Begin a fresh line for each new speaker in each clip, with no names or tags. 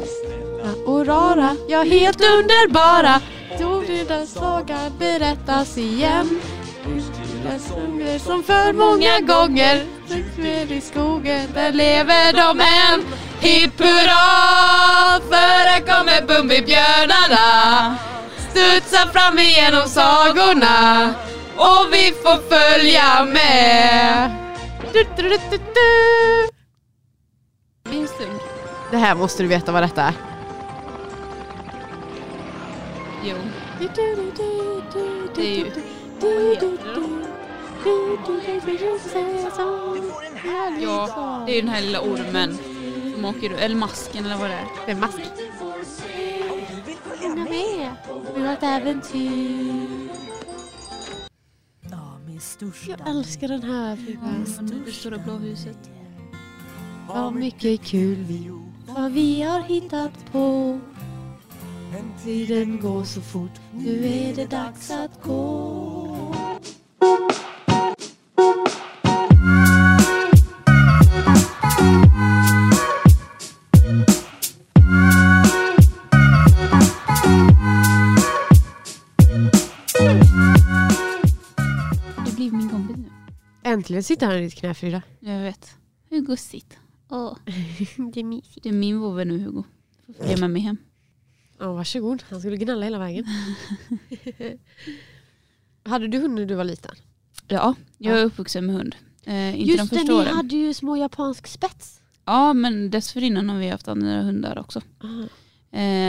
Rara och rara, ja helt underbara. Tornedens saga berättas igen. Den sjunger som för många gånger. Trycker i skogen, där lever de än. Hipp hurra, för här kommer Bumbibjörnarna. Studsar fram igenom sagorna och vi får följa med. Du, du, du, du, du. Instinkt.
Det här måste du veta vad detta är.
Jo.
Det är ju...
Ja, det är ju den här lilla ormen som åker Eller masken eller vad det är.
Det är mask.
Hänga med! Vi har ett äventyr.
Ja, min största.
Jag älskar den här filmen.
Mm, Det stora blå huset.
Vad mycket kul vi gjort. Vad vi har hittat på. Tiden går så fort. Nu är det dags att gå.
Det blir min kompis nu.
Äntligen sitter han i ditt knä Frida.
Jag vet. Hugo sitt. Åh.
Det är mysigt.
Det är min vovve nu Hugo. Du får följa med mig hem.
Ja, varsågod. Han skulle gnälla hela vägen. Hade du hund när du var liten?
Ja, jag är uppvuxen med hund. Eh, inte
Just
de
det,
första
ni
åren.
hade ju små japansk spets.
Ja, men dessförinnan har vi haft andra hundar också. Eh,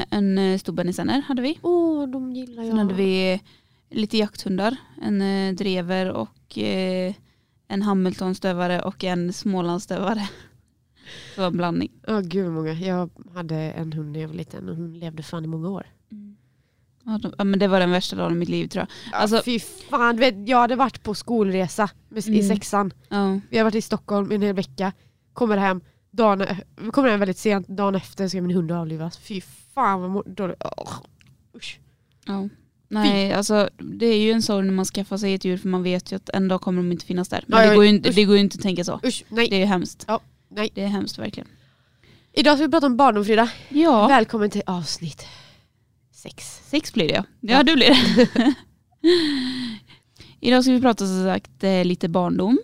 en eh, stor bernisanner hade vi.
Åh, de gillar jag.
Sen hade vi eh, lite jakthundar. En eh, drever och eh, en hamiltonstövare och en smålandsstövare. Det var en blandning.
Ja, gud vad många. Jag hade en hund när jag var liten och hon levde fan i många år.
Ja, de- Ja, men det var den värsta dagen i mitt liv tror jag. Alltså,
Fy fan, du vet, jag hade varit på skolresa med, i
Mm.
sexan.
ja,
Vi hade varit i Stockholm i en hel vecka. Kommer hem, dagen, e- kommer hem väldigt sent, dagen efter ska min hund avlivas. Fy fan vad må- dåligt. Åh, usch.
ja. Nej, alltså det är ju en sorg när man skaffar sig ett djur för man vet ju att en dag kommer de inte finnas där. Men
Ja, ja,
det, går ju inte,
usch.
det går ju inte att tänka så.
Usch, nej.
Det är ju hemskt.
Ja, nej.
Det är hemskt verkligen.
Idag ska vi prata om barndom Frida.
Ja,
Välkommen till avsnitt sex.
sex blir det ja. Ja, du blir det. Idag ska vi prata som sagt eh, lite barndom.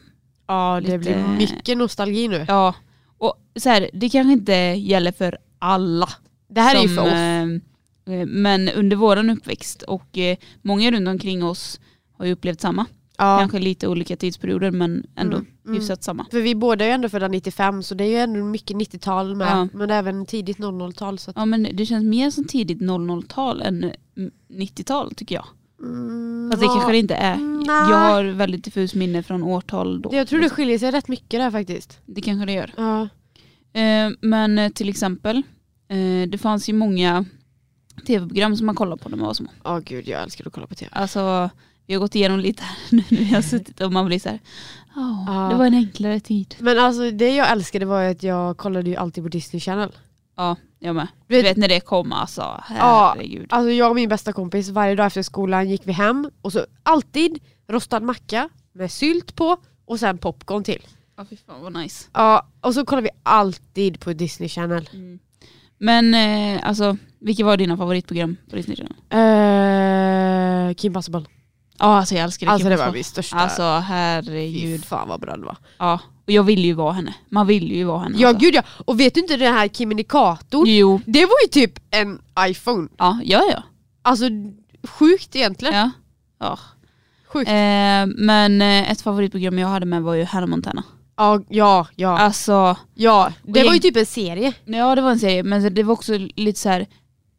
Ja
lite-
det blir mycket nostalgi nu.
Ja, och så här, det kanske inte gäller för alla.
Det här är ju
som,
för oss.
eh, eh, Men under våran uppväxt och eh, många runt omkring oss har ju upplevt samma.
Ja.
Kanske lite olika tidsperioder men ändå
Mm, mm.
hyfsat samma.
För vi båda är ju ändå födda 95 så det är ju ändå mycket 90-tal med.
Ja.
Men även tidigt 00-tal. Så att,
Ja men det känns mer som tidigt 00-tal än mm, 90-tal tycker jag.
mm,
Fast det
ja.
kanske det inte är.
Nej.
Jag har väldigt diffus minne från årtal då.
Mm, Jag tror det skiljer sig rätt mycket där faktiskt.
Det kanske det gör.
Ja.
Eh, Men eh, till exempel, eh, det fanns ju många tv-program som man kollade på när man var små.
Åh gud jag älskar att kolla på tv.
Alltså, vi har gått igenom lite här nu när vi har suttit och man blir så här, "Ja,
Ja.
det var en enklare tid.
Men alltså det jag älskade var ju att jag kollade ju alltid på Disney Channel.
Ja, jag med.
Du
Du
vet-
vet när det kom alltså, herregud.
Alltså jag och min bästa kompis varje dag efter skolan gick vi hem och så alltid rostad macka med sylt på och sen popcorn till.
Ja, fy fan vad nice.
Ja, och så kollar vi alltid på Disney Channel.
Men eh, alltså, vilka var dina favoritprogram på Disney Channel?
Uh, Kim Possible.
Ja, alltså jag älskar det.
Alltså det
Mm. Kim
var
Possible.
min största.
Alltså
Fy
herregud.
fan vad bra det var.
Ja, och jag ville ju vara henne. Man ville ju vara henne.
Ja
alltså.
gud ja, och vet du inte den här Kim Indikator?
Jo,
Det var ju typ en iPhone.
ja, ja, ja.
Alltså sjukt egentligen.
ja. ja.
Sjukt.
Eh, men eh, ett favoritprogram jag hade med var ju Hannah Montana.
Ja, ja, ja.
Alltså,
ja. Det
och
var ju
gäng-
typ en serie.
ja det var en serie men det var också lite så här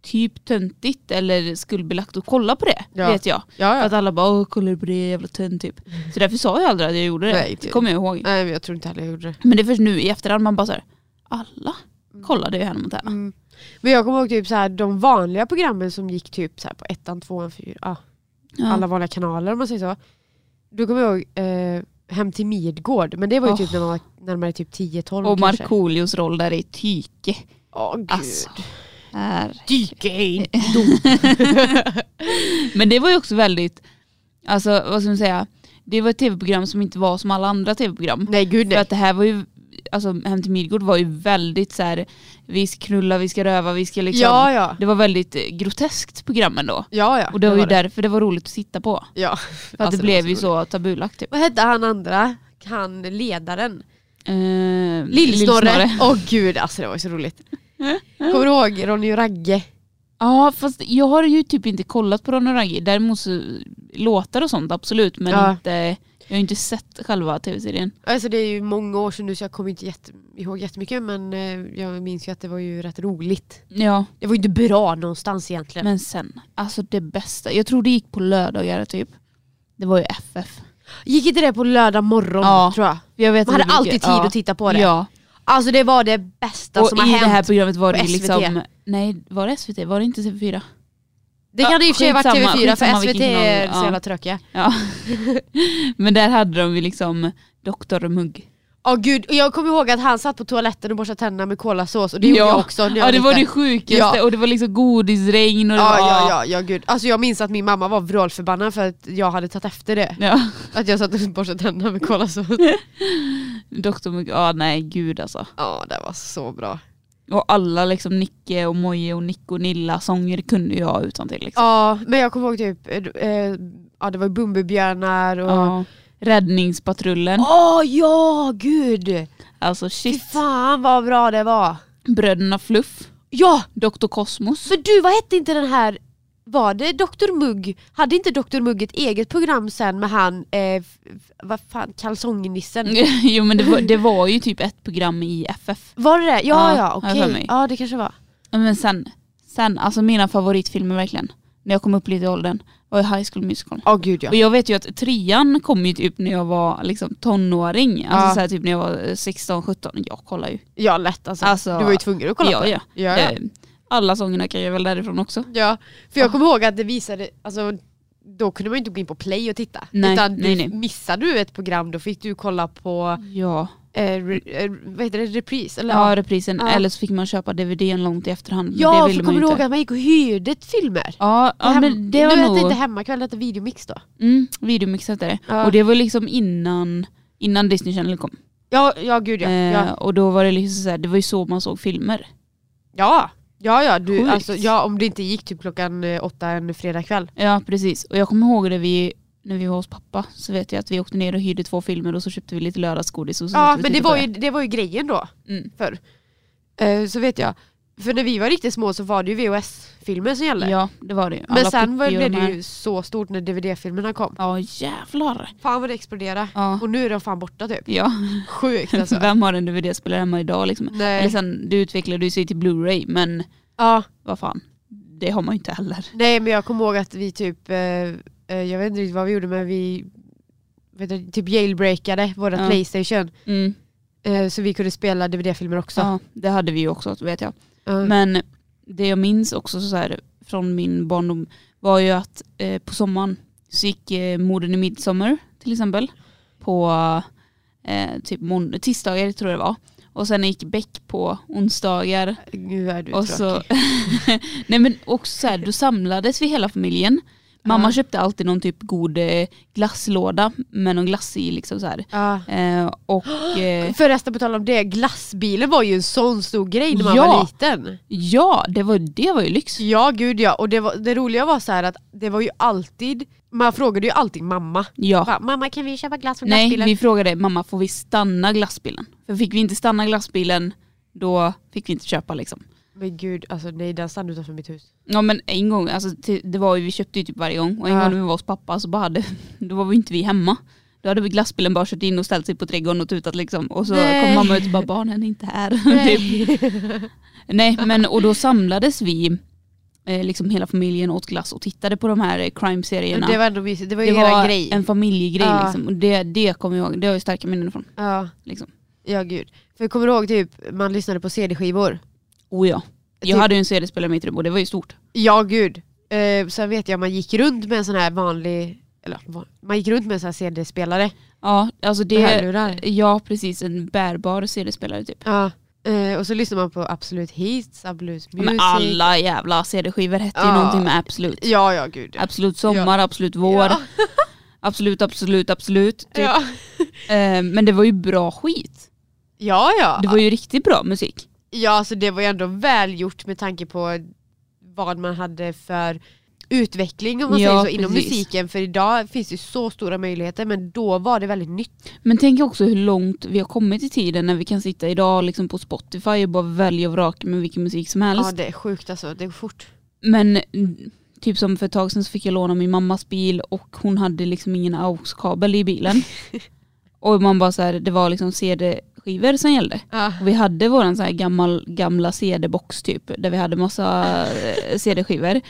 typ töntigt eller skuldbelagt att kolla på det
Ja.
vet jag.
Ja, Mm.
För att alla bara "Åh, kollar du på det jävla tönt typ. Så därför sa jag aldrig att jag gjorde det.
Nej,
det
typ.
kommer jag ihåg.
Nej men jag tror inte heller jag gjorde det.
Men det är först nu i efterhand man bara såhär, alla kollade ju Hannah Montana.
Mm. Men jag kommer ihåg typ så här, de vanliga programmen som gick typ så här på ettan, tvåan, fyra, ja,
Ja.
Mm. alla vanliga kanaler om man säger så. Då kommer jag ihåg eh, Hem till Midgård, men det var ju typ när man var närmare typ 10-12
Och
kanske.
Markoolios roll där i Tyke.
Åh gud.
Alltså. Här.
Dyka in!
Men det var ju också väldigt, alltså vad ska man säga, det var ett tv-program som inte var som alla andra tv-program.
Nej gud
För
nej.
att det här var ju alltså Hem till Midgård var ju väldigt så här, vi ska knulla, vi ska röva, vi ska liksom.
Ja, ja.
Det var väldigt eh, groteskt program ändå.
Ja, ja.
Och det var ju
det.
därför det var roligt att titta på.
Ja. Alltså,
För att det blev ju så tabulagt typ.
Vad hette han andra? Han ledaren?
Eh,
Lillsnorre. Åh gud, alltså det var ju så roligt. Kommer du ihåg Ronny och Ragge?
Ja fast jag har ju typ inte kollat på Ronny och Ragge. Däremot så låtar och sånt absolut men
Ja.
inte, jag har inte sett själva tv-serien.
Alltså det är ju många år sedan nu så jag kommer inte jätte, ihåg jättemycket men eh, jag minns ju att det var ju rätt roligt.
Ja
Det var ju inte bra någonstans egentligen.
men sen, alltså det bästa. Jag tror det gick på lördagar typ. Det var ju FF.
Gick inte det på lördag morgon
Ja.
tror jag?
Jag vet att
Man hade
det brukar-
alltid tid
ja.
att titta på det.
Ja.
Alltså det var det bästa
Och
som
i
har
det här
hänt.
programmet var
på
det ju
SVT.
liksom, nej var det SVT? Var det inte TV4?
Det kan det i och för sig ha varit
Skitsamma,
TV4 för
skitsamma vilken
SVT är
kanal,
så
ja.
jävla tråkiga.
Ja. men där hade de ju liksom Dr Mugg.
Ja gud, och jag kommer ihåg att han satt på toaletten och borstade tänderna med kolasås och det gjorde
Ja.
jag också när jag
Ja det var det
liten.
sjukaste
Ja.
och det var liksom godisregn och det
Ja,
var,
ja, ja, ja gud. Alltså jag minns att min mamma var vrålförbannad för att jag hade tagit efter det.
ja.
Att jag satt och borstade tänderna med kolasås.
Dr Mugg, ja nej gud alltså.
Ja det var så bra.
Och alla liksom Nicke och Moje och Nick och Nilla sånger kunde jag utan till liksom.
Ja men jag kommer ihåg typ, eh, eh, ja det var ju Bumbibjörnar och... Åh
Ja. Räddningspatrullen,
ja gud!
alltså
Fy
shit.
fan vad bra det var.
Bröderna Fluff,
Ja!
Dr Kosmos.
För du, vad hette inte den här, var det Dr Mugg? Hade inte Dr Mugg ett eget program sen med han, eh, f- f- vad fan, kalsongnissen?
jo men det var, det var ju typ ett program i FF.
Var det det? Ja,
Ja,
ja,
jag har för
okej.
mig.
Ja, det kanske var.
Ja, Men sen, sen, alltså mina favoritfilmer verkligen, när jag kom upp lite i åldern, var ju High School Musical.
Ja, gud ja.
Och jag vet ju att trean kom ju typ när jag var liksom tonåring, alltså
Ja.
så här, typ när jag var 16-17. Jag kollar ju.
Ja, lätt alltså.
Alltså,
Du var ju tvungen att kolla
ja,
på det.
ja.
Ja, ja.
Eh, Alla sångerna kan jag väl därifrån också.
ja. För
Ah.
jag kommer ihåg att det visade, alltså då kunde man ju inte gå in på play och titta.
Nej,
Utan du-
nej, nej.
missade du ett program då fick du kolla på
Ja,
eh, re, eh, vad heter det, repris? Eller?
ja reprisen.
Ja.
Eller så fick man köpa DVDn långt i efterhand. men
ja
det
för
ville man
kommer
ju
du ihåg
inte.
att man gick och hyrde filmer?
Ja, ja
Hem-
men det var
nu
nog...
hette inte Hemmakväll, det hette Videomix då.
Mm, videomix hette det.
Ja.
Och det var liksom innan, innan Disney Channel kom.
Ja, ja gud ja.
Eh,
Ja,
och då var det liksom så här, det var ju så man såg filmer.
ja. ja, ja, du,
Sjukt.
alltså, ja om det inte gick typ klockan eh, åtta en fredagkväll.
Ja precis, och jag kommer ihåg det vi, när vi var hos pappa så vet jag att vi åkte ner och hyrde två filmer och så köpte vi lite lördagsgodis och så satt
Ja
vi och
men det
tittade
var,
på
ju, det var ju grejen då.
Mm.
Förr. Eh, så vet jag. För när vi var riktigt små så var det ju VHS-filmer som gällde.
Ja det var det ju.
men sen var,
Pippi och
blev
de
det
här.
ju så stort när DVD-filmerna kom.
Ja jävlar.
Fan vad det exploderade.
Ja.
Och nu är de fan borta typ.
Ja,
Sjukt alltså.
vem har en DVD-spelare hemma idag liksom? Eller
nej.
sen, det utvecklade ju sig till Blu-ray men
Ja,
vad fan, det har man ju inte heller.
nej men jag kommer ihåg att vi typ, eh, eh, jag vet inte riktigt vad vi gjorde men vi vet du, typ jailbreakade vårat
Ja.
Playstation.
Mm.
Eh, så vi kunde spela DVD-filmer också.
Ja, det hade vi ju också vet jag.
Ja.
Men det jag minns också så här, från min barndom var ju att eh, på sommaren så gick eh, Morden i midsommar till exempel på eh, typ månd- tisdagar tror jag det var. Och sen gick Beck på onsdagar.
Gud är du
Och
tråkig.
så, nej men också så här, då samlades vi hela familjen. Mamma
Ja.
köpte alltid någon typ god eh, glasslåda med någon glass i liksom så här.
Ja.
Eh, och eh,
Förresten på tal om det, glassbilen var ju en sån stor grej när man
Ja.
var liten.
ja, det var, det var ju lyx.
Ja gud ja, och det, var, det roliga var så här att det var ju alltid, man frågade ju alltid mamma.
Ja.
Bara, mamma kan vi köpa glass från
Nej,
glassbilen?
vi frågade mamma, får vi stanna glassbilen? För fick vi inte stanna glassbilen, då fick vi inte köpa liksom.
Men gud, alltså nej den stannade utanför mitt hus.
Ja men en gång, alltså, till- det var ju, vi köpte ju typ varje gång och en
Ja.
gång när vi var hos pappa så bara hade, då var vi inte vi hemma. Då hade vi glassbilen bara kört in och ställt sig på trädgården och tutat liksom. Och så
Nej.
kom mamma ut och bara barnen är inte här. typ.
Nej.
Nej men och då samlades vi, eh, liksom hela familjen åt glass och tittade på de här eh, crime-serierna.
det var ändå mysigt, det var ju
Det
era
var
grej.
en familjegrej
Ja.
liksom. Och det, det kommer jag ihåg, det har jag starka minnen från.
Ja.
Liksom.
ja gud. För jag kommer ihåg typ, man lyssnade på CD-skivor.
Oh ja.
Typ-
Jag hade ju en CD-spelare i mitt rum och det var ju stort.
Ja gud. Eh, sen vet jag man gick runt med en sån här vanlig, eller va- man gick runt med en sån här CD-spelare.
Ja, alltså
Det här
det...
lurar.
Ja, precis. En bärbar CD-spelare typ.
Ja. Eh, och så lyssnar man på Absolut Hits, Absolut Music.
Men alla jävla CD-skivor hette ju
Ja.
någonting med Absolut.
Ja, ja gud.
Absolut sommar, Absolut vår.
Ja.
Absolut, absolut, absolut. Typ.
Ja.
Eh, men det var ju bra skit.
Ja, ja.
Det var ju riktigt bra musik.
Ja, alltså det var ju ändå välgjort med tanke på vad man hade för utveckling om man
Ja,
säger så inom
precis.
musiken. För idag finns det ju så stora möjligheter men då var det väldigt nytt.
Men tänk också hur långt vi har kommit i tiden när vi kan sitta idag liksom på Spotify och bara välja och vraka med vilken musik som helst.
Ja det är sjukt alltså, det går fort.
Men mm, typ som för ett tag sedan så fick jag låna min mammas bil och hon hade liksom ingen aux-kabel i bilen. och man bara så här, det var liksom CD-skivor som gällde.
Ja.
Och vi hade våran så här gammal, gamla CD-box typ, där vi hade massa eh, CD-skivor.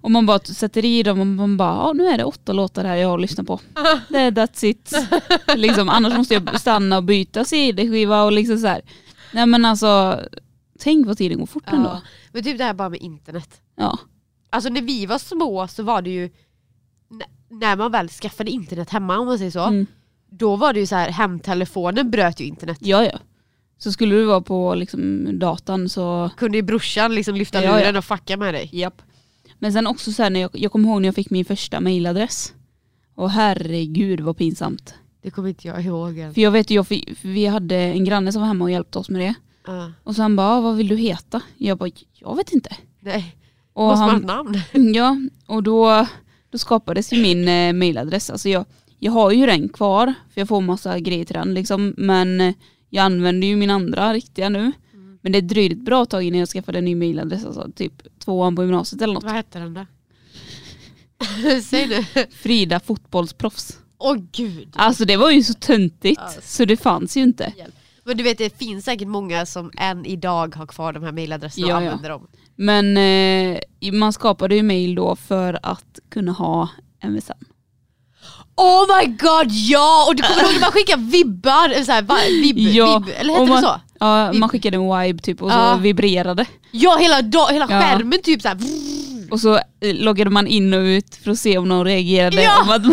Och man bara sätter i dem och man bara, ja nu är det åtta låtar här jag har att lyssna på. Det är that's it. liksom, annars måste jag stanna och byta CD-skiva och liksom så här. Nej men alltså, tänk vad tiden går fort ändå.
Ja. Men typ det här bara med internet.
Ja.
Alltså när vi var små så var det ju, n- när man väl skaffade internet hemma om man säger så,
Mm.
då var det ju så här hemtelefonen bröt ju internet.
Ja, ja. Så skulle du vara på liksom, datan så...
Kunde ju brorsan liksom lyfta
Ja, ja.
luren och fucka med dig.
Japp. Men sen också så här, när jag, jag kommer ihåg när jag fick min första mailadress. Och herregud vad pinsamt.
Det kommer inte jag ihåg än.
För jag vet ju, jag, fick- för vi hade en granne som var hemma och hjälpte oss med det.
Ja.
Och så han bara, "Ah, vad vill du heta? Jag bara, jag vet inte.
Nej,
Och
måste man ha
han,
ett namn?
ja, och då, då skapades ju min eh, mailadress. Alltså jag, jag har ju den kvar, för jag får massa grejer till den liksom. Men eh, jag använder ju min andra riktiga nu.
Mm.
Men det dröjde ett bra tag innan jag skaffade en ny mailadress, alltså typ tvåan på gymnasiet eller något.
Vad hette den då? Säg nu.
Frida fotbollsproffs.
Åh gud.
Alltså det var ju så töntigt,
Alltså.
så det fanns ju inte.
Men du vet det finns säkert många som än idag har kvar de här mejladresserna och
Ja, ja.
använder dem.
Men eh, man skapade ju mail då för att kunna ha MSN.
Oh my god ja! Och du kommer ihåg att man skickar vibbar, eller så här, va, vibb,
Ja,
vibb, eller heter
och
det
man-
så?
Ja,
Vib-
man skickade en vibe typ och så
Ja.
vibrerade.
Ja hela, dag, hela
Ja.
skärmen typ såhär.
Och så eh, loggade man in och ut för att se om någon reagerade
Ja.
om att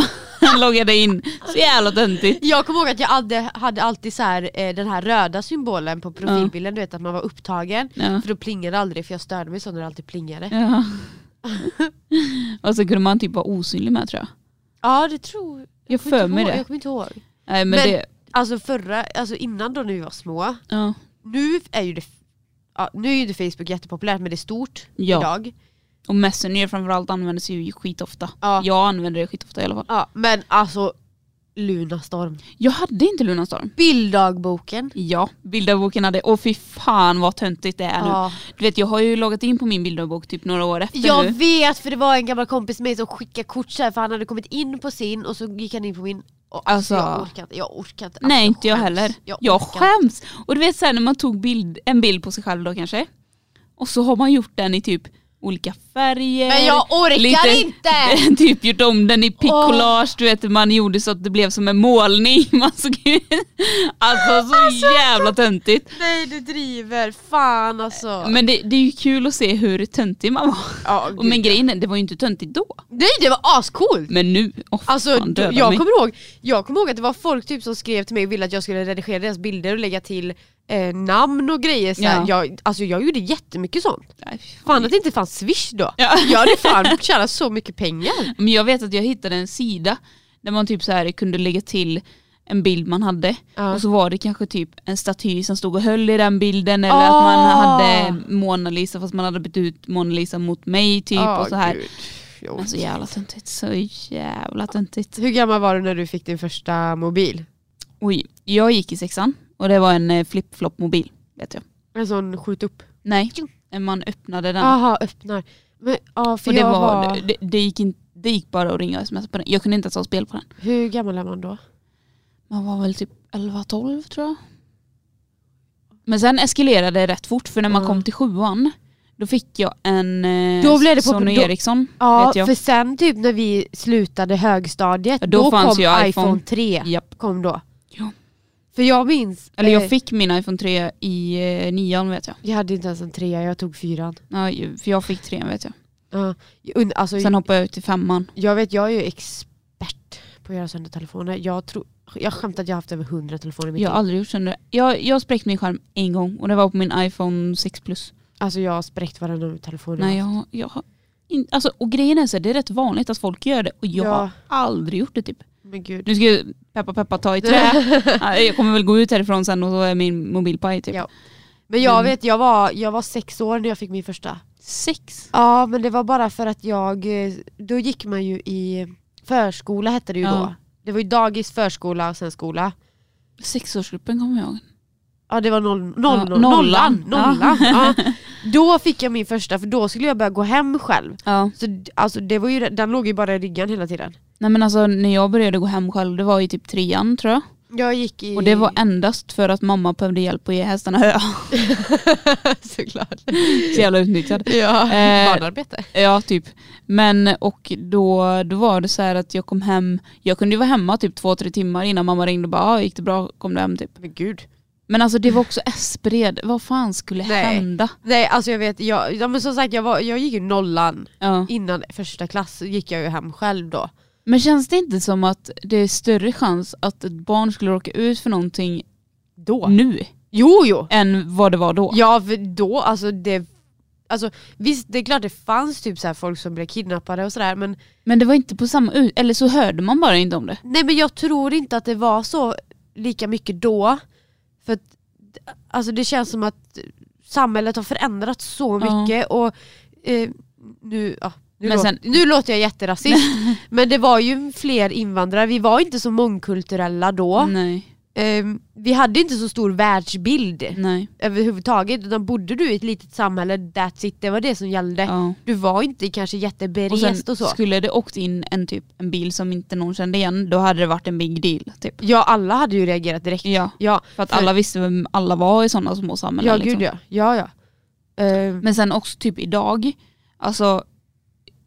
man loggade in. Så jävla töntigt.
Jag kommer ihåg att jag hade, hade alltid så här, eh, den här röda symbolen på profilbilden, du vet att man var upptagen.
Ja.
För då plingade det aldrig för jag störde mig så när det alltid plingade. Ja,
Ja. och så kunde man typ vara osynlig med tror jag.
det tror
Jag
kommer
för
inte
mig
ihåg,
det.
Jag kommer inte ihåg.
Nej, men
Men-
det
Alltså förra, alltså innan då när vi var små,
ja.
nu är ju det ja, nu är ju inte Facebook jättepopulärt men det är stort
Ja.
idag.
Och Messenger framförallt användes ju skitofta.
Ja.
Jag använder det skitofta i alla fall.
Ja, men alltså Lunarstorm.
Jag hade inte Lunarstorm.
Bilddagboken.
Ja, bilderboken hade, åh fy fan vad töntigt det är nu.
Ja.
Du vet jag har ju loggat in på min bilderbok typ några år efter
Jag
nu.
vet för det var en gammal kompis med mig som skickade kort så här, för han hade kommit in på sin och så gick han in på min. Och, alltså,
Alltså.
jag orkar inte. Jag orkar inte. Alltså,
Nej inte jag
skäms.
heller. Jag,
orkar
skäms! Och du vet sen när man tog bild, en bild på sig själv då kanske. Och så har man gjort den i typ olika färger.
Men jag orkar
lite-
inte!
typ gjort om den i pickcollage, du vet man gjorde så att det blev som en målning. Man såg ut- alltså så jävla töntigt.
Nej du driver, fan alltså.
Men det, det är ju kul att se hur töntig man var.
Ja,
Och men
gud.
grejen är, det var ju inte töntigt då.
Nej det var ascoolt!
Men nu, oh,
Alltså,
fan,
d-
döda
jag,
mig.
kommer ihåg, jag kommer ihåg att det var folk typ som skrev till mig och ville att jag skulle redigera deras bilder och lägga till eh, namn och grejer. Så här.
Ja.
Jag, alltså, jag gjorde jättemycket sånt.
Nej, fy fan.
Fan att det inte fanns swish då.
Ja.
Jag hade fan tjänat så mycket pengar.
Men jag vet att jag hittade en sida där man typ så här kunde lägga till en bild man hade
Ja.
och så var det kanske typ en staty som stod och höll i den bilden eller att
Ah.
man hade Mona Lisa fast man hade bytt ut Mona Lisa mot mig typ
Ja,
och så här.
Ah,
Alltså,
gud. Jag
Men så
orkar
jävla töntigt, så jävla töntigt.
inte. Hur gammal var du när du fick din första mobil?
Oj, jag gick i sexan och det var en eh, flip-flop mobil vet jag.
En sån skjut upp.
Nej, man öppnade den.
Jaha, öppnar. Men, ja, för
och det,
Ah, jag
var,
var,
Det, det, gick in, det gick bara att ringa och sms på den. Jag kunde inte ens ha spel på den.
Hur gammal är man då?
Man var väl typ 11-12 tror jag. Men sen eskalerade det rätt fort för när man
Ja.
kom till sjuan då fick jag en eh,
Då blev det pop-
Sony
då-
Ericsson.
Ja,
vet jag.
för sen typ när vi slutade högstadiet,
Ja,
då,
då fanns
kom
ju
iPhone.
iPhone.
3.
Japp.
Kom då.
Ja.
För jag minns,
Eller
eh,
jag fick min iPhone 3 i eh, nian vet jag.
jag hade inte ens en trea, jag tog fyran.
Ja, ju- för jag fick trean vet jag.
Ja. Jag und- alltså,
Sen hoppade jag ut till femman.
jag vet, jag är ju expert på att göra sönder telefoner. Jag, tror, jag skämtar att jag har haft över 100 telefoner i mitt
Jag har
liv.
aldrig gjort sönder. Jag, jag spräckte min skärm en gång och det var på min iPhone 6 plus.
Alltså jag har spräckt varenda telefon
Nej,
haft.
jag, jag, har in, alltså, och grejen är så här, det är rätt vanligt att folk gör det och jag
Ja.
har aldrig gjort det typ.
Men gud.
Nu ska jag peppa peppa ta i trä. Ja, jag kommer väl gå ut härifrån sen och så är min mobilpaj typ.
Ja. Men jag
Mm.
vet, jag var, jag var sex år när jag fick min första.
Sex.
Ja men det var bara för att jag, eh, då gick man ju i förskola hette det ju
Ja.
då. Det var ju dagis, förskola och sen skola.
Sexårsgruppen kommer jag ihåg.
Ja det var noll, noll,
Ja,
noll, nollan.
nollan.
nollan. Ja. Då fick jag min första för då skulle jag börja gå hem själv.
Ja.
Så, d- alltså, det var ju, den låg ju bara i ryggen hela tiden.
Nej men alltså när jag började gå hem själv det var ju typ trean tror jag.
Jag gick i...
Och det var endast för att mamma behövde hjälp att ge hästarna hö.
Såklart.
Så jävla utnyttjad.
Ja,
Eh,
barnarbete.
Ja typ. Men och då, då var det så här att jag kom hem, jag kunde ju vara hemma typ två tre timmar innan mamma ringde och bara ah, gick det bra, kom du hem typ.
Men gud.
Men alltså det var också Espered, vad fan skulle
Nej.
hända?
Nej alltså jag vet, jag, ja, men som sagt jag, var, jag gick ju nollan
Ja.
innan första klass så gick jag ju hem själv då.
Men känns det inte som att det är större chans att ett barn skulle råka ut för någonting
Då?
nu
Jo jo!
än vad det var då?
Ja för då, alltså det Alltså visst det är klart det fanns typ så här folk som blev kidnappade och sådär men
Men det var inte på samma ut, eller så hörde man bara inte om det.
Nej men jag tror inte att det var så lika mycket då För att alltså, det känns som att samhället har förändrats så
Ja.
mycket och eh, nu, ja, nu,
Men
låter,
sen-
nu låter jag jätterasist men det var ju fler invandrare, vi var inte så mångkulturella då
Nej,
eh, Vi hade inte så stor världsbild
nej.
överhuvudtaget utan bodde du i ett litet samhälle, that's it, det var det som gällde.
Ja.
Du var inte kanske jätteberest
Eh, Och
och,
sen
så.
skulle det åkt in en, typ, en bil som inte någon kände igen, då hade det varit en big deal. Typ.
Ja alla hade ju reagerat direkt.
Ja,
Ja,
för att
För-
alla visste vem alla var i sådana små samhällen.
ja
liksom.
gud ja. ja, ja. Eh,
Men sen också typ idag, alltså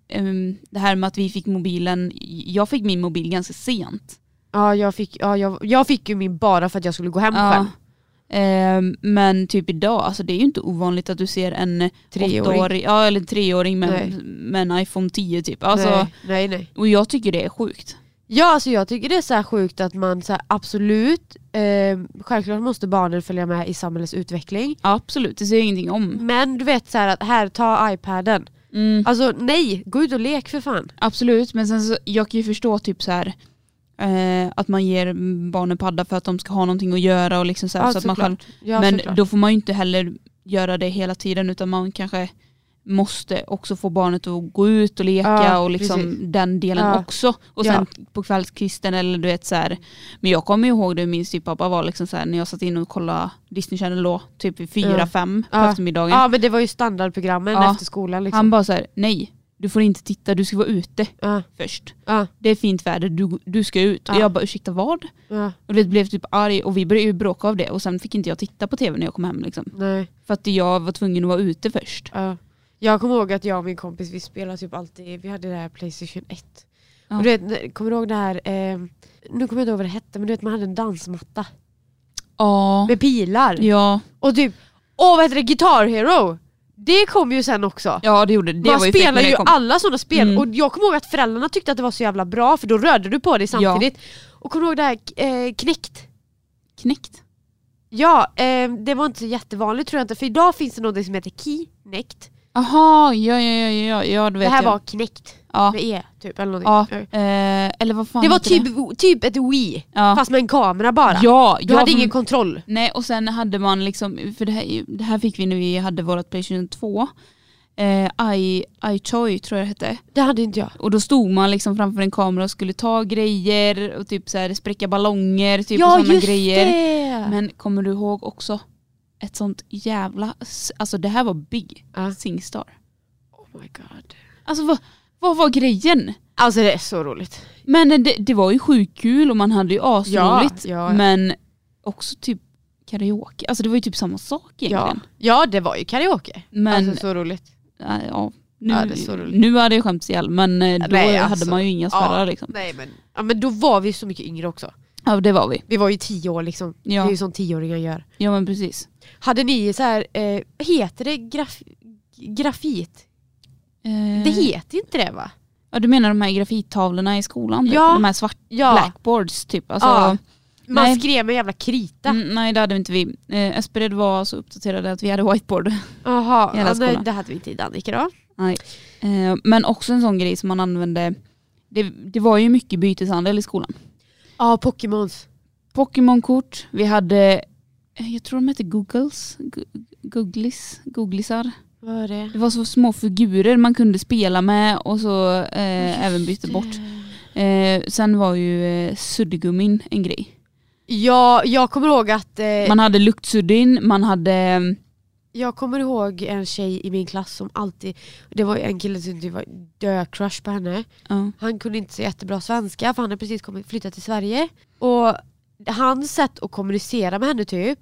ehm, det här med att vi fick mobilen, jag fick min mobil ganska sent.
ja, jag, fick, ja jag, jag fick ju min bara för att jag skulle gå hem själv.
Ehm, men typ idag, alltså det är ju inte ovanligt att du ser en
Treåring.
åttaårig, ja, eller en treåring med,
Nej.
med en iPhone 10 typ. Alltså,
nej, nej, nej.
och jag tycker det är sjukt.
Ja alltså jag tycker det är så här sjukt att man så här, absolut, eh, självklart måste barnen följa med i samhällets utveckling.
Absolut, det säger jag ingenting om.
Men du vet så här att här, ta iPaden.
Mm.
Alltså nej, gå ut och lek för fan.
Absolut, men sen så, jag kan ju förstå typ så här eh, att man ger barnen padda för att de ska ha någonting att göra och liksom så, här,
Ja,
så att man
såklart.
själv,
Ja,
Men
såklart.
då får man ju inte heller göra det hela tiden utan man kanske måste också få barnet att gå ut och leka
Ja,
och liksom
precis.
den delen
Ja.
också. Och sen på kvällskvisten eller du vet så här. Men jag kommer ju ihåg det min styvpappa var liksom så här när jag satt in och kollade Disney Channel då, typ vid
Ja.
fyra fem på
Ja.
eftermiddagen.
Ja men det var ju standardprogrammen
Ja.
efter skolan liksom.
Han bara så här, nej du får inte titta, du ska vara ute
Ja,
först.
ja,
det är fint väder, du, du ska ut.
Ja.
Och jag bara ursäkta vad?
ja,
Och det blev typ arg och vi började ju bråka av det och sen fick inte jag titta på tv när jag kom hem liksom.
nej.
För att jag var tvungen att vara ute först.
Ja. Jag kommer ihåg att jag och min kompis vi spelade typ alltid, vi hade det här Playstation 1.
Ja.
Och du vet, när- kommer du ihåg det här, eh, nu kommer jag inte ihåg vad det hette men du vet man hade en dansmatta
Ja.
med pilar.
Ja,
Och typ, åh vad heter det, Guitar Hero! Det kom ju sen också.
ja det gjorde det. det
man
var ju fett
spelar
när det
ju
kom.
alla sådana spel
Mm.
och jag kommer ihåg att föräldrarna tyckte att det var så jävla bra för då rörde du på dig samtidigt. Och kommer du ihåg det här eh, Knäckt?
Knäckt.
Ja, eh, det var inte så jättevanligt tror jag inte för idag finns det något som heter Kinect.
Jaha, ja ja ja ja, ja du
Det
vet
här
jag.
var Kinect
Ja.
med E typ eller
Ja,
någonting.
eh, eller vad fan
Det var
heter
typ, typ ett Wii
ja.
fast med en kamera bara.
Ja,
du
ja,
hade
men-
ingen kontroll.
Nej och sen hade man liksom, för det här, det här fick vi när vi hade vårt Playstation 2. Eh, I, iChoy tror jag det hette.
Det hade inte jag.
Och då stod man liksom framför en kamera och skulle ta grejer och typ så här spräcka ballonger typ
ja
och såna
just
grejer.
det!
Men kommer du ihåg också ett sånt jävla, s- alltså det här var big
Ja.
Singstar.
Oh my god.
Alltså vad, vad var grejen?
Alltså det är så roligt.
Men det, det var ju sjukt kul och man hade ju asroligt.
Ja, ja, ja.
Men också typ karaoke, alltså det var ju typ samma sak
Ja.
egentligen.
ja det var ju karaoke.
Men
Alltså så roligt.
ja, ja, nu,
Ja, det är så roligt.
nu hade jag skämts ihjäl men eh, då
Nej,
hade
alltså.
man ju inga spärrar
Ja.
liksom.
Nej men, ja, men då var vi så mycket yngre också.
Ja det var vi.
Vi var ju tio år liksom. Det är
Ja,
ju som tioåringar gör.
ja men precis.
Hade ni så här, eh, heter det graf grafit? Det
Eh,
heter inte det va?
Ja du menar de här grafittavlorna i skolan? Typ?
Ja.
De här svarta
Ja,
blackboards typ? Alltså,
Ja. man
nej.
skrev med jävla krita.
mm, nej det hade inte vi. Eh, Espered var så uppdaterade att vi hade whiteboard.
Jaha,
I hela
ja, nej,
skolan.
det hade vi inte i Dannike då.
Eh, men också en sån grej som man använde. Det, det var ju mycket byteshandel i skolan.
Ja, Pokémons.
Pokémon-kort. Vi hade, eh, jag tror de hette Googles. Gu- Googlis. Googlisar.
Vad är det?
Det var så små figurer man kunde spela med och så eh, även byta bort. Eh, sen var ju eh, suddgummin en grej.
Ja, jag kommer ihåg att eh,
Man hade luktsuddin, man hade... ehm,
Jag kommer ihåg en tjej i min klass som alltid, det var ju en kille som det var dö-crush på henne.
Ja.
Han kunde inte så jättebra svenska för han hade precis kommit, flyttat till Sverige. Och hans sätt att kommunicera med henne typ,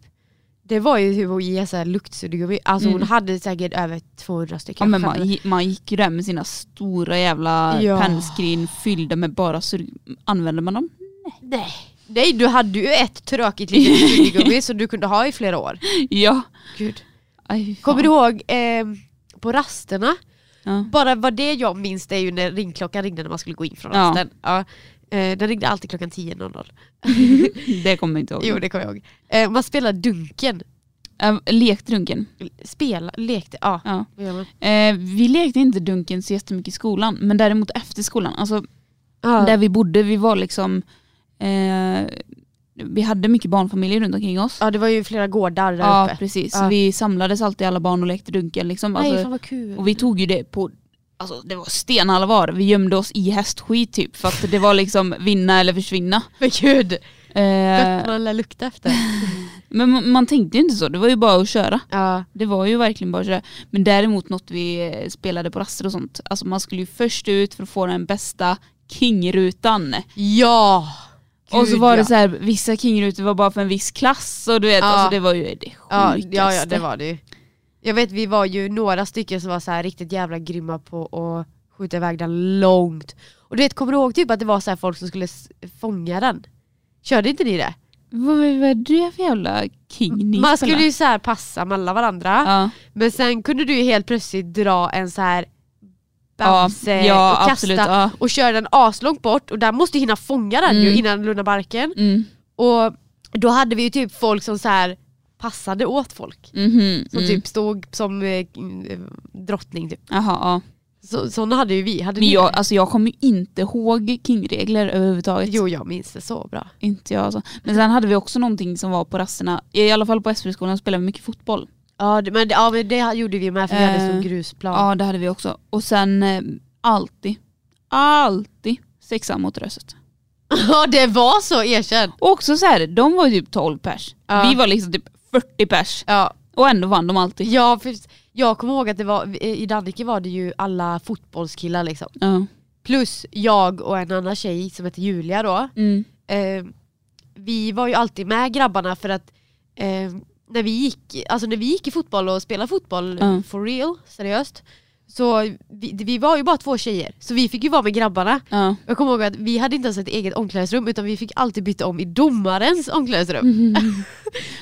det var ju typ att ge så här luktsuddgummi. Alltså hon
Mm.
hade säkert över 200 stycken.
Ja, men man,
själv.
gi- man gick ju där med sina stora jävla
Ja.
pennskrin fyllda med bara suddgummi. Använde man dem?
Nej. Nej, du hade ju ett tråkigt litet suddgummi som du kunde ha i flera år.
Ja.
Gud.
Aj, fy fan.
Kommer du ihåg ehm, på rasterna?
Ja.
Bara vad det jag minns det är ju när ringklockan ringde när man skulle gå in från
Ja.
rasten. Ja. Eh, Den ringde alltid klockan 10.00.
Det kommer jag inte ihåg.
Jo det kommer jag ihåg. Eh, Man spelade dunken.
Eh, Lekdrunken.
Spela, lekte, ja.
Ja.
Vad gör man?
Eh, vi lekte inte dunken så jättemycket i skolan, men däremot efter skolan. Alltså,
Ja.
Där vi bodde, vi var liksom... Eh, vi hade mycket barnfamiljer runt omkring oss.
ja det var ju flera gårdar där
Ja,
uppe.
precis.
Ja.
Vi samlades alltid alla barn och lekte dunken. Liksom. Alltså,
vad kul.
och vi tog ju det på Alltså det var stenallvar, vi gömde oss i hästskit typ för att det var liksom vinna eller försvinna.
Men gud,
Eh,
gött man lär lukta efter.
men man, man tänkte ju inte så, det var ju bara att köra.
ja.
Det var ju verkligen bara att köra. Men däremot något vi eh, spelade på raster och sånt, alltså man skulle ju först ut för att få den bästa kingrutan.
ja.
och så
Gud,
var
ja.
det så här, vissa kingrutor var bara för en viss klass och du vet,
Ja.
alltså det var ju det sjukaste.
Ja, ja, ja det var det ju. Jag vet vi var ju några stycken som var så här riktigt jävla grymma på att skjuta iväg den långt. Och du vet, kommer du ihåg typ att det var så här folk som skulle s- fånga den? Körde inte ni det?
Vad, vad är det för jävla king ni spelar?
Man skulle ju så här passa mellan varandra,
Ja.
men sen kunde du ju helt plötsligt dra en så här
Ja,
Bamse
ja,
och kasta
absolut, ja.
och köra den aslångt bort och där måste du hinna fånga den ju
Mm.
innan den lundar barken.
Mm.
Och då hade vi ju typ folk som så här passade åt folk.
Mhm,
Som
mm.
typ stod som eh, eh, drottning typ.
Jaha, ja.
Så, såna hade ju vi. Hade
Men
ni
jag,
det?
alltså jag kommer ju inte ihåg kingregler överhuvudtaget.
Jo jag minns det så bra.
Inte jag alltså. Men sen hade vi också någonting som var på rasterna, i alla fall på SP-skolan spelade vi mycket fotboll.
Ja det, men, ja, men det gjorde vi med för vi hade
Eh,
sån grusplan.
Ja det hade vi också. Och sen eh, alltid, alltid sexa mot röset.
Ja det var så, erkänn.
Och också så här, de var ju typ 12 pers.
Ja.
Vi var liksom typ 40 pers.
Ja.
Och ändå vann de alltid.
Ja, för, jag kommer ihåg att det var, i Dannike var det ju alla fotbollskillar liksom.
Ja.
Plus jag och en annan tjej som heter Julia då.
Mm.
Eh, vi var ju alltid med grabbarna för att eh, när, vi gick, alltså när vi gick i fotboll och spelade fotboll
Ja.
for real, seriöst. Så vi, vi var ju bara två tjejer, så vi fick ju vara med grabbarna.
Ja.
Jag kommer ihåg att vi hade inte ens ett eget omklädningsrum utan vi fick alltid byta om i domarens omklädningsrum.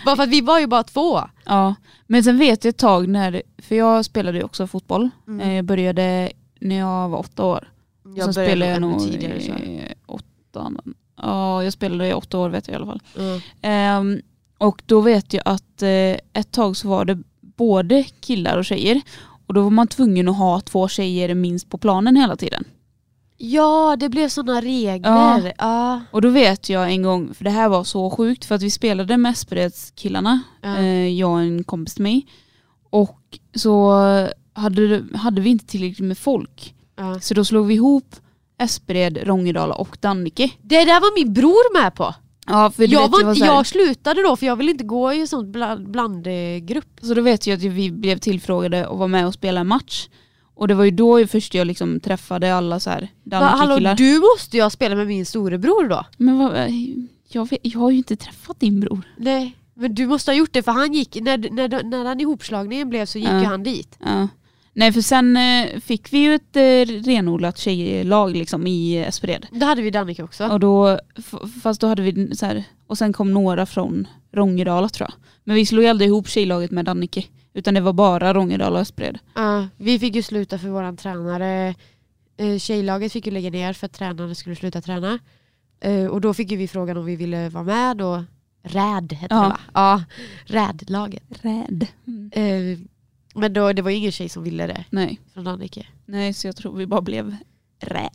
bara för att vi var ju bara två.
Ja, men sen vet jag ett tag när, för jag spelade ju också fotboll.
Mm.
Eh, Jag började när jag var åtta år.
Jag
sen
började
spelade jag
ännu
nog
tidigare, så.
i åttan. Ja, jag spelade i åtta år vet jag i alla fall.
Mm.
Ehm, och då vet jag att eh, ett tag så var det både killar och tjejer. Och då var man tvungen att ha två tjejer minst på planen hela tiden.
Ja det blev såna regler. Ja.
Och då vet jag en gång, för det här var så sjukt, för att vi spelade med Esperedskillarna,
Ja.
eh, jag och en kompis till mig. Och så hade, hade vi inte tillräckligt med folk.
Ja.
Så då slog vi ihop Espered, Rångedala och Dannike.
Det där var min bror med på.
Ja, för du
Jag,
vet,
var
det var
inte,
så här-
jag slutade då för jag ville inte gå i en sån bland, blandgrupp.
Så då alltså, vet jag att vi blev tillfrågade och var med och spelade en match. Och det var ju då ju först jag liksom träffade alla så här
Va, hallå
Dannike-killar.
du måste jag spela med min storebror då?
Men vad, eh, jag, vet, jag har ju inte träffat din bror.
Nej. Men du måste ha gjort det för han gick, när, när, när den ihopslagningen blev så gick
Ja.
ju han dit.
Ja. Nej för sen eh, fick vi ju ett eh, renodlat tjejlag liksom i eh, Espered.
Då hade vi Dannike också.
Och då, f- fast då hade vi så här, och sen kom några från Rångedala tror jag. Men vi slog ju aldrig ihop tjejlaget med Dannike. Utan det var bara Rångedala och Espered.
Ja, vi fick ju sluta för våran tränare. Eh, Tjejlaget fick ju lägga ner för att tränaren skulle sluta träna. Eh, Och då fick ju vi frågan om vi ville vara med och RÄD hette
Ja.
det va? Ja, RÄD-laget.
Rädd.
Eh, Men då, det var ju ingen tjej som ville det
Nej.
från Dannike.
Nej så jag tror vi bara blev rä.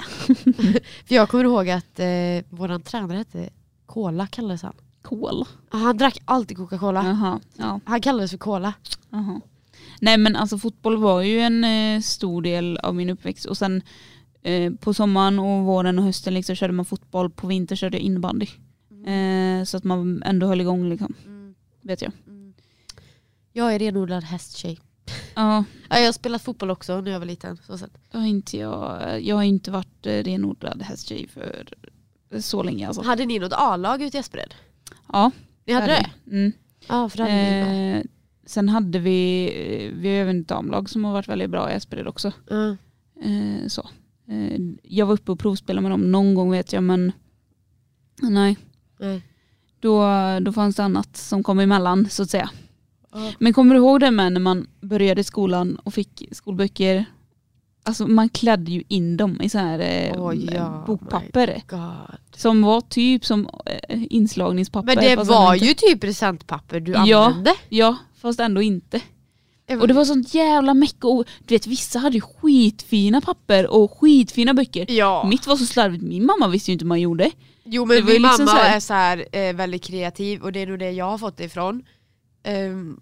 För jag kommer ihåg att eh, våran tränare hette Cola kallades han.
Kol.
Ah, Han drack alltid Coca-Cola.
Jaha. Ja.
Han kallades för Cola.
Aha. Nej men alltså fotboll var ju en eh, stor del av min uppväxt och sen eh, på sommaren och våren och hösten liksom körde man fotboll, på vintern körde jag innebandy. Eh, så att man ändå höll igång liksom, vet jag.
Jag är renodlad hästtjej.
Ja,
Ja, jag har spelat fotboll också när jag var liten. Så sett.
jag har inte, jag, jag har inte varit eh, renodlad hästtjej för så länge alltså.
Hade ni något A-lag ute i Espered?
Ja,
Ni hade det?
Mm.
Ja, för det hade ni bara.
Eh, sen hade vi, eh, vi har även ett damlag som har varit väldigt bra i Espered också.
Ja.
Eh, så. Eh, jag var uppe och provspelade med dem någon gång vet jag men nej.
Nej.
Då, då fanns det annat som kom emellan så att säga.
Ja.
Men kommer du ihåg det med när man började i skolan och fick skolböcker? Alltså man klädde ju in dem i så här eh,
Åh, ja,
bokpapper.
God.
Som var typ som eh, inslagningspapper.
Men det
fast ändå
var
inte.
ju typ presentpapper du
Ja.
använde.
Ja, fast ändå inte. Och det var sånt jävla meck och du vet vissa hade ju skitfina papper och skitfina böcker.
Ja. Mm.
Mitt var så slarvigt, min mamma visste ju inte hur man gjorde.
Jo men
Det var
min
ju liksom
mamma
så här-
är så här, eh, väldigt kreativ och det är nog det jag har fått det ifrån. Ehm,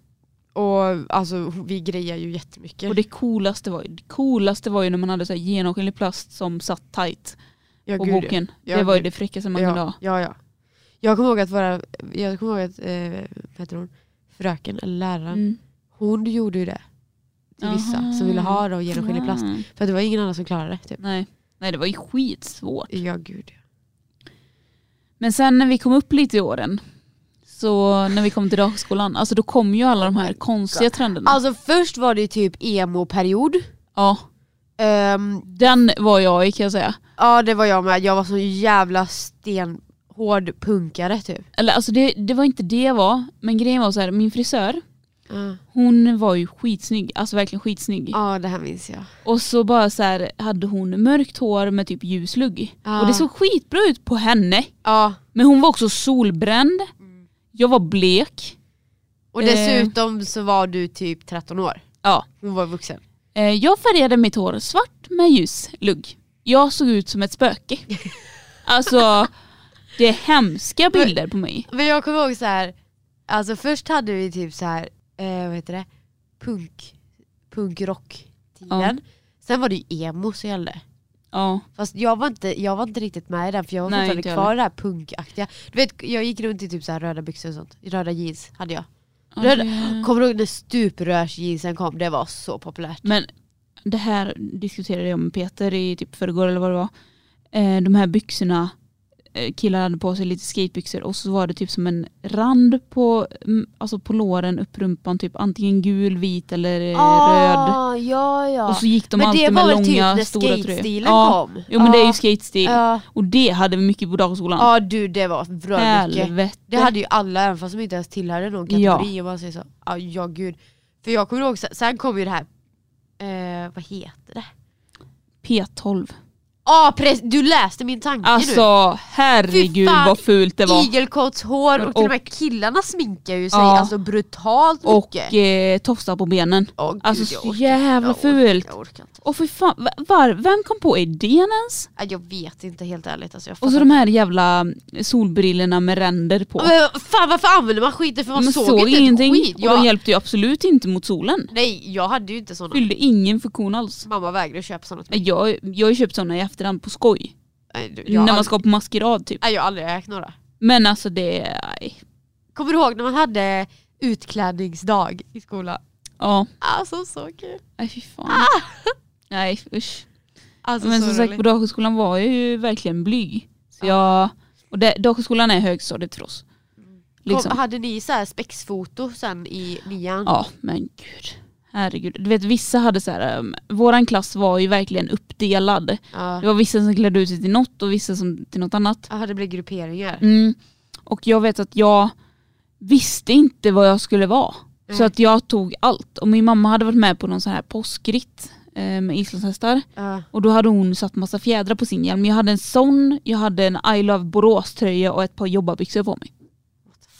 och alltså vi grejer ju jättemycket.
Och det coolaste var ju, det coolaste var ju när man hade så här genomskinlig plast som satt tight
ja,
på
gud, ja.
boken.
Ja,
det var ju
gud.
det fräckaste man kunde
ja,
ha.
ja, ja. Jag kommer ihåg att våra, jag kommer ihåg att, eh, vad heter hon, fröken eller läraren,
Mm.
hon gjorde ju det till vissa
Aha.
som ville ha då genomskinlig plast.
Ah.
För att det var ingen annan som klarade det. Typ.
Nej. Nej det var ju skitsvårt.
Ja gud. ja.
Men sen när vi kom upp lite i åren, så när vi kom till dagskolan, alltså då kom ju alla de här konstiga trenderna.
Alltså först var det ju typ emo-period.
ja,
Ehm,
den var jag i kan jag säga.
Ja det var jag med, jag var så jävla stenhård punkare typ.
Eller alltså det, det var inte det jag var, men grejen var så här, min frisör, hon var ju skitsnygg, alltså verkligen skitsnygg.
Ja det här minns jag.
Och så bara så här, hade hon mörkt hår med typ ljus lugg.
Ja.
Och det såg skitbra ut på henne.
Ja.
Men hon var också solbränd. Jag var blek.
Och
Eh.
dessutom så var du typ 13 år,
Ja.
hon var vuxen.
Eh, Jag färgade mitt hår svart med ljus lugg. Jag såg ut som ett spöke. alltså, det är hemska bilder på mig.
Men jag kommer ihåg så här. alltså först hade vi typ så här, eh, vad heter det, punk, punkrock tiden. Sen var det ju emo som gällde.
Ja.
Fast jag var, inte, jag var inte riktigt med i den för jag var
Nej,
fortfarande
inte jag
kvar i det här punkaktiga. Du vet jag gick runt i typ så här röda byxor och sånt, röda jeans hade jag.
Ja,
Röda,
det-
Kommer du ihåg när stuprörsjeansen kom? Det var så populärt.
Men det här diskuterade jag med Peter i typ förrgår eller vad det var. Eh, De här byxorna, eh, killar hade på sig lite skatebyxor och så var det typ som en rand på, mm, alltså på låren, upp rumpan, typ antingen gul, vit eller eh, röd.
Ah, Ja, ja.
Och så gick de
men det
alltid
var
med
väl
långa,
typ när
stora tröjor.
skate-stilen kom? Ah.
Jo men det är
Ja.
ju skatestil.
Ja.
Och det hade vi mycket på dagskolan.
Ja du Ah, det var bra mycket.
Helvete.
Det hade ju alla även fast de inte ens tillhörde någon kategori om man säger så. Ja, ja gud. För jag kommer ihåg, sen- sen kom ju det här, eh, vad heter det?
P12.
Ja ah, du läste min tanke nu.
Alltså herregud
Fy fan,
vad fult det var.
Igelkottshår och, till och med killarna sminkar ju sig
Ja.
alltså brutalt
Och
mycket.
eh, tofsar på benen.
Åh, gud,
alltså
jag
så
orkar-
jävla
jag orkar-
fult.
Jag orkar inte.
Och för fan, va- var, vem kom på idén ens?
Ja, Jag vet inte helt ärligt. Alltså, jag
Och så de här jävla solbrillorna med ränder på.
Men fan varför använder man skiten för man
Man
såg,
såg
inte
ingenting.
ett skit.
Och de
Jag,
hjälpte ju absolut inte mot solen.
nej jag hade ju inte såna.
Fyllde ingen funktion alls.
Mamma vägrade köpa såna till mig.
Nej, Jag, jag har ju köpt sådana i efterhand på skoj.
Nej, du- Jag,
när
har
man
aldrig-
ska på maskerad typ.
nej, jag har aldrig ägt några.
Men alltså det, nej.
Kommer du ihåg när man hade utklädningsdag i skolan?
Ja,
Alltså så kul.
nej fy fan. Nej usch.
Ah! Alltså,
Men
så
som sagt på
roligt.
dagisskolan var jag ju verkligen blyg. Så jag, och det, dagisskolan är högstadiet för oss.
Mm. Kom,
Liksom.
hade ni så här spexfoto sen i nian?
Ja men gud. Herregud. Du vet vissa hade så här, um, våran klass var ju verkligen uppdelad.
Ja.
Det var vissa som klädde ut sig till något och vissa som till något annat.
Jaha det blev grupperingar.
Mm. Och jag vet att jag visste inte vad jag skulle vara. Så
Nej.
att jag tog allt. Och min mamma hade varit med på någon sån här påskritt eh, med islandshästar.
Ja.
Och då hade hon satt massa fjädrar på sin hjälm. Jag hade en sån, jag hade en I Love Borås tröja och ett par jobbarbyxor på mig.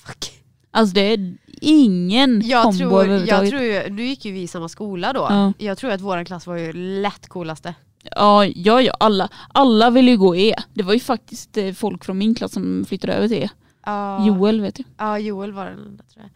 Fuck.
Alltså det är ingen
Jag
Mm. kombo
tror, jag
överhuvudtaget.
tror, ju- nu gick ju vi i samma skola då.
Ja.
Jag tror att vår klass var ju lätt coolaste.
Ja, ja, ja alla, alla ville ju gå E. Det var ju faktiskt eh, folk från min klass som flyttade över till E.
Ja,
Joel vet jag.
ja, Joel var den andra tror jag.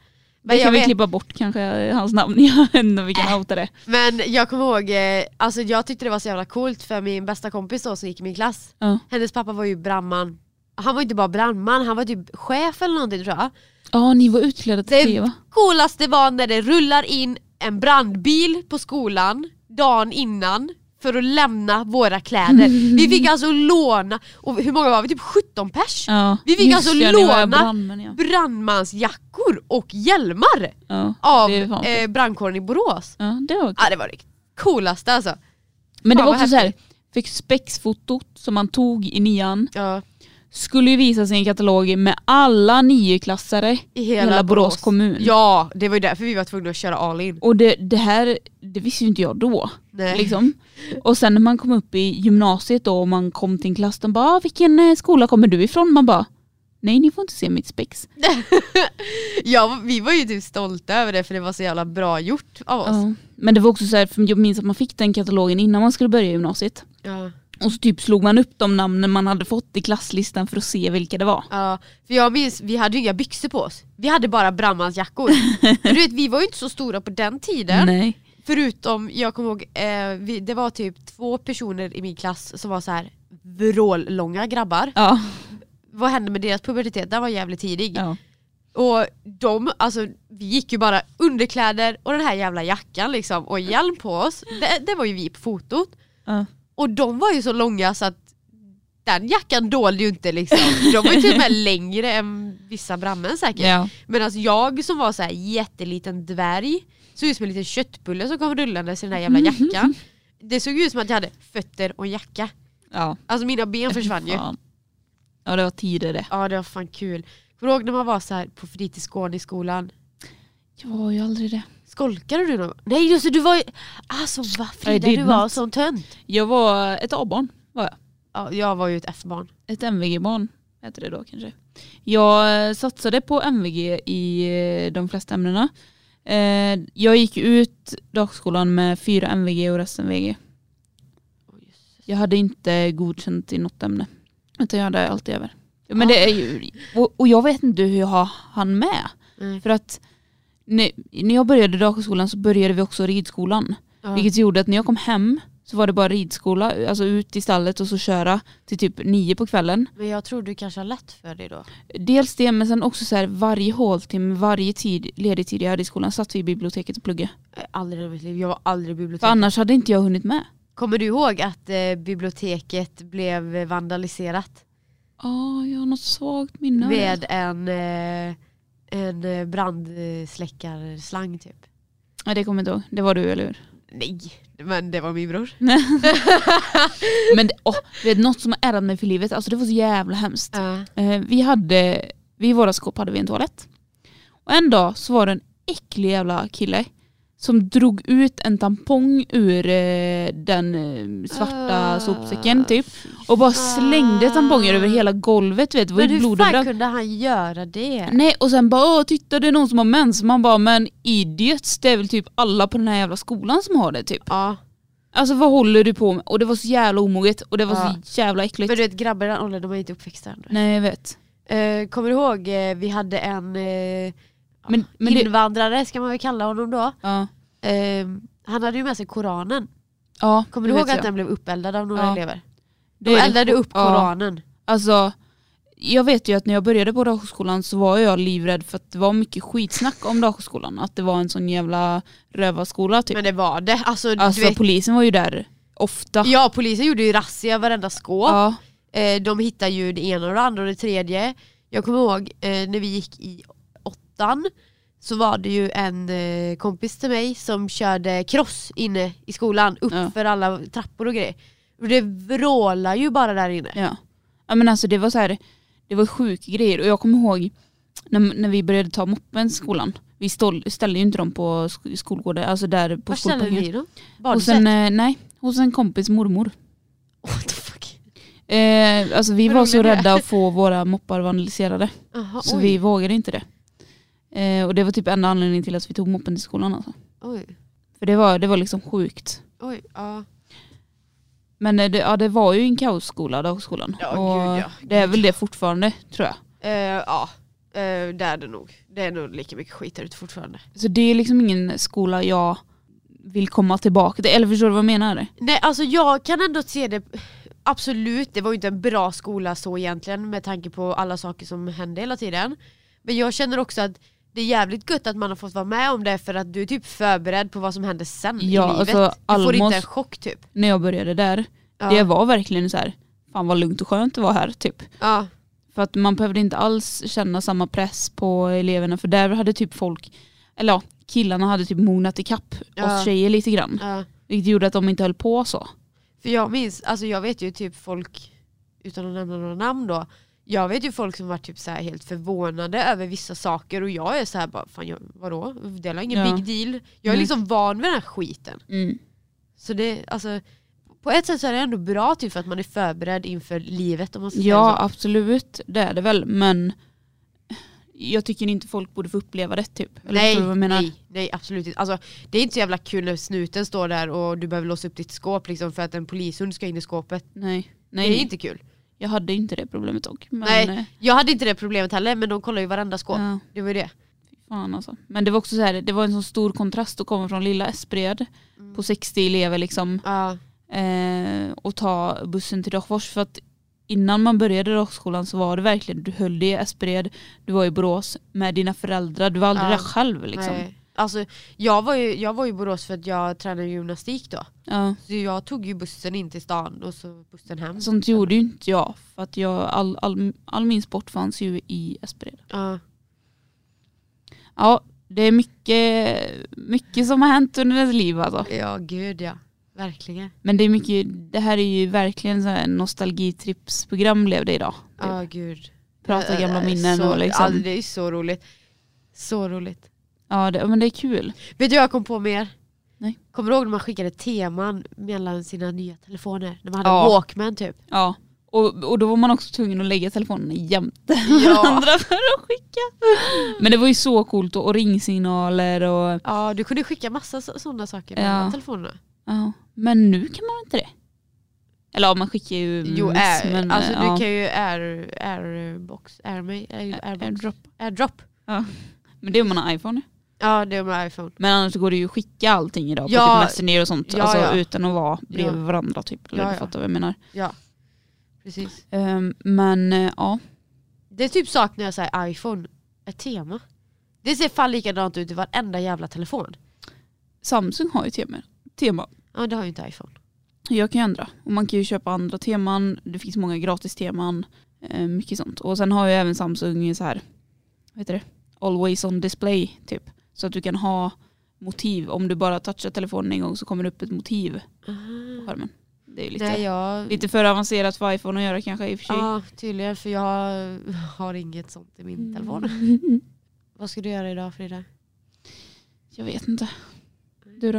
Det
Men jag,
kan vi
vet, Äh.
klippa bort kanske eh, hans namn igen när vi kan outa det.
men jag kommer ihåg, eh, alltså jag tyckte det var så jävla coolt för min bästa kompis då som gick i min klass,
Ja.
hennes pappa var ju brandman. Han var inte bara brandman, han var typ chef eller någonting tror jag.
Ja ni var utklädda till
Det-
det va?
Coolaste var när det rullar in en brandbil på skolan dagen innan för att lämna våra kläder. Vi fick alltså låna, och hur många var vi? Typ 17 pers?
Ja.
Vi fick
Just
alltså
det, ni var
låna-
brandmän, ja.
brandmansjackor och hjälmar
Ja,
av
det är fan
eh, brandkåren i Borås.
ja, det var
Ja det var det coolaste alltså.
Men det
Ah, Fan,
var
vad
också så här, fick spexfotot som man tog i nian
Ja,
skulle ju visas i en katalog med alla nioklassare i
I
hela, Borås. kommun.
Ja, det var ju därför vi var tvungna att köra all in.
Och det, det här, det visste ju inte jag då.
Nej.
Liksom. Och sen när man kom upp i gymnasiet då och man kom till en klass, de bara "Ah, “vilken eh, skola kommer du ifrån?” Man bara “nej ni får inte se mitt spex”.
Ja, vi var ju typ stolta över det för det var så jävla bra gjort av oss.
Ja. Men det var också så här, för jag minns att man fick den katalogen innan man skulle börja gymnasiet.
Ja.
Och så typ slog man upp de namnen man hade fått i klasslistan för att se vilka det var.
Ja, för jag minns, vi hade ju inga byxor på oss. Vi hade bara brandmansjackor. för du vet, vi var ju inte så stora på den tiden.
Nej.
Förutom, jag kommer ihåg, eh, vi, det var typ två personer i min klass som var så här vrållånga grabbar.
Ja.
Vad hände med deras pubertet? Den var jävligt tidig.
ja.
Och de, alltså vi gick ju bara underkläder och den här jävla jackan liksom och hjälm på oss. Det, det var ju vi på fotot.
Ja.
Och de var ju så långa så att den jackan dolde ju inte liksom. De var ju till och med längre än vissa brandmän säkert.
ja.
Medan jag som var så här jätteliten dvärg såg ut som en liten köttbulle som kom rullandes i den här jävla jackan. Det såg ut som att jag hade fötter och en jacka.
ja.
Alltså mina ben försvann ju.
Fan. Ja det var tider det.
Ja det var fan kul. Kommer du ihåg när man var så här på fritidsgården i skolan?
Jag var ju aldrig det.
Skolkade du någon gång? Nej just det, du var ju... Alltså vad
I
Frida
did
du var
not.
som tönt.
Jag var ett A-barn. Var jag.
Ja, jag var ju ett F-barn.
Ett MVG-barn heter det då kanske. Jag eh, satsade på MVG i eh, de flesta ämnena. Eh, Jag gick ut dagskolan med fyra MVG och resten VG. Jag hade inte godkänt i något ämne. Utan jag hade alltid över. Men
Ja.
det är ju, och, och jag vet inte hur jag har- hann med.
Mm.
För att när, när jag började dagskolan så började vi också ridskolan.
Ja.
Vilket gjorde att när jag kom hem så var det bara ridskola, alltså ut i stallet och så köra till typ nio på kvällen.
Men jag tror du kanske har lätt för dig då.
Dels det men sen också så här varje håltimme, varje tid, ledig tid jag hade i skolan satt vi i biblioteket och pluggade.
Eh, Aldrig i mitt liv, jag var aldrig i
För
biblioteket.
annars hade inte jag hunnit med.
Kommer du ihåg att eh, biblioteket blev eh, vandaliserat?
Ja, jag har något svagt minne av det.
Med en, eh, en eh, brandsläckarslang typ.
Nej det kommer jag inte ihåg, det var du eller hur?
Nej, men det var min bror.
Men det, åh, vet, du, något som har ärrat mig för livet, alltså det var så jävla hemskt.
Ja.
Eh, vi hade, vid våra skåp hade vi en toalett. Och en dag så var det en äcklig jävla kille som drog ut en tampong ur eh, den eh, svarta
Ah,
sopsäcken typ. Och bara slängde tamponger över hela golvet vet du. Det var
Men
ju
hur
blod och
fan
brand.
kunde han göra det?
Nej och sen bara åh titta det är någon som har mens. Man bara men idiots det är väl typ alla på den här jävla skolan som har det typ.
Ja.
Alltså vad håller du på med? Och det var så jävla omoget och det var
Ah.
så jävla äckligt.
Men du vet grabbar i den åldern, de är inte uppväxta än.
Nej jag vet.
Eh, kommer du ihåg, eh, vi hade en eh,
Men, men det,
invandrare ska man väl kalla honom då.
ja.
Eh, han hade ju med sig koranen.
Ja,
Kommer du
det
ihåg
vet jag.
att den blev uppeldad av några
Ja.
elever?
Det
De
är det-
eldade upp
ja.
koranen.
Alltså, jag vet ju att när jag började på dagskolan så var jag livrädd för att det var mycket skitsnack om dagskolan. Att det var en sån jävla rövarskola typ.
Men det var det. Alltså,
alltså
du vet,
polisen var ju där ofta.
ja, polisen gjorde ju razzia i varenda skåp.
Ja.
Eh, de hittade ju det ena och det andra och det tredje. Jag kommer ihåg eh, när vi gick i åttan så var det ju en eh, kompis till mig som körde cross inne i skolan upp
Ja.
för alla trappor och grejer. Och det vrålar ju bara där inne.
Ja. ja men alltså det var så här, det var sjuka grejer och jag kommer ihåg när, när vi började ta moppen i skolan. Vi stol, ställde ju inte dem på sk- skolgården, alltså där på
Var ställer
skolpengen.
ni dem?
Hos
Badhuset?
en, eh, nej, hos en kompis mormor.
What the fuck?
Eh, alltså vi
Vad
var
roligt
så
det är.
rädda att få våra moppar vandaliserade
Aha,
så
Ah, oj,
vi vågade inte det. Eh, och det var typ enda anledningen till att vi tog moppen till skolan alltså.
oj,
För det var, det var liksom sjukt.
oj, ja.
Men eh, det, ja, det var ju en kaosskola, dagskolan.
Ja,
och
gud, ja.
Det är väl det fortfarande tror jag.
Eh, ja, Eh, det är det nog. Det är nog lika mycket skit där ute fortfarande.
Så det är liksom ingen skola jag vill komma tillbaka till. Eller förstår du vad jag menar?
Nej alltså jag kan ändå se det, absolut det var ju inte en bra skola så egentligen med tanke på alla saker som hände hela tiden. Men jag känner också att det är jävligt gött att man har fått vara med om det för att du är typ förberedd på vad som händer sen i
Ja,
livet.
alltså,
du får
Almos-
inte en chock typ.
När jag började där,
Ja.
det var verkligen så här, fan vad lugnt och skönt det var här typ.
Ja.
För att man behövde inte alls känna samma press på eleverna för där hade typ folk, eller ja, killarna hade typ mognat ikapp
Ja.
oss tjejer lite grann.
Ja.
Vilket gjorde att de inte höll på så.
För jag minns, alltså jag vet ju typ folk, utan att nämna några namn då, jag vet ju folk som var typ så här helt förvånade över vissa saker och jag är så här bara, fan jag, vadå? Det är väl ingen
Ja.
big deal? Jag är
Mm.
liksom van vid den här skiten. Så det, alltså, på ett sätt så är det ändå bra typ för att man är förberedd inför livet om man ska
Ja
säga
absolut, det är det väl men jag tycker inte folk borde få uppleva det typ.
så.
Eller
Nej,
förstår du vad jag menar?
nej, nej absolut inte. Alltså, det är inte så jävla kul när snuten står där och du behöver låsa upp ditt skåp liksom, för att en polishund ska in i skåpet.
Nej.
Det är
Nej,
inte kul.
jag hade inte det problemet dock. Men,
Nej.
eh,
Jag hade inte det problemet heller men de kollar ju varenda skåp.
Ja,
Det var ju det.
fan alltså. Men det var också så här, det var en sån stor kontrast att komma från lilla Espred
Mm.
på 60 elever liksom
Ja.
eh, och ta bussen till Rockfors för att innan man började Rockskolan så var det verkligen, du höll dig i Espred, du var i Borås med dina föräldrar, du var aldrig
Ja.
där själv liksom.
Nej. Alltså, jag, var ju, jag var ju i Borås för att jag tränade gymnastik då.
Ja.
Så jag tog ju bussen in till stan och så bussen hem.
Sånt gjorde ju inte jag för att jag, all, all, all min sport fanns ju i Espred.
Ja.
Ja, det är mycket, mycket som har hänt under ens liv alltså.
ja, gud ja. Verkligen.
Men det är mycket, det här är ju verkligen så här nostalgitripsprogram blev det idag. Typ.
Ja, gud.
Prata gamla
Ja,
minnen
så,
och liksom.
ja, det är ju så roligt. Så roligt.
Ja, det, men det är kul.
Vet du vad jag kom på mer?
Nej.
Kommer du ihåg när man skickade teman mellan sina nya telefoner? När man hade
Ja.
Walkman typ.
Ja. Och, och då var man också tvungen att lägga telefonen jämte
Ja.
varandra för att skicka. Men det var ju så coolt och, och ringsignaler och
Ja, du kunde skicka massa sådana saker
Ja.
mellan telefonerna.
ja. Men nu kan man inte det. Eller ja, man skickar ju
Jo,
miss,
air,
men, eh,
alltså
ja.
du kan ju air, airbox, air, air, airbox,
Airdrop.
airdrop.
Men det är om man har iPhone.
Ja, det är med iPhone.
Men annars går det ju att skicka allting idag på
Ja.
typ Messenger och sånt.
Ja,
alltså,
ja.
utan att vara bredvid
Ja.
varandra typ. Eller
Ja,
du
ja.
fattar vad jag menar.
Ja, precis.
Ehm, men eh, ja.
Det är typ saknar jag säger iPhone, ett tema. Det ser fan likadant ut i varenda jävla telefon.
Samsung har ju tema. tema.
Ja, det har ju inte iPhone.
Jag kan ju ändra. Och man kan ju köpa andra teman. Det finns många gratis teman. eh, mycket sånt. Och sen har ju även Samsung så här. Vad heter det? Always on display typ. Så att du kan ha motiv. Om du bara touchar telefonen en gång så kommer det upp ett motiv på skärmen. Det är ju lite,
Nej, jag...
lite för avancerat för iPhone att göra kanske i och för sig.
Ja, tydligen. För jag har- har inget sånt i min telefon.
Mm.
Vad ska du göra idag Frida?
Jag vet inte. Du då?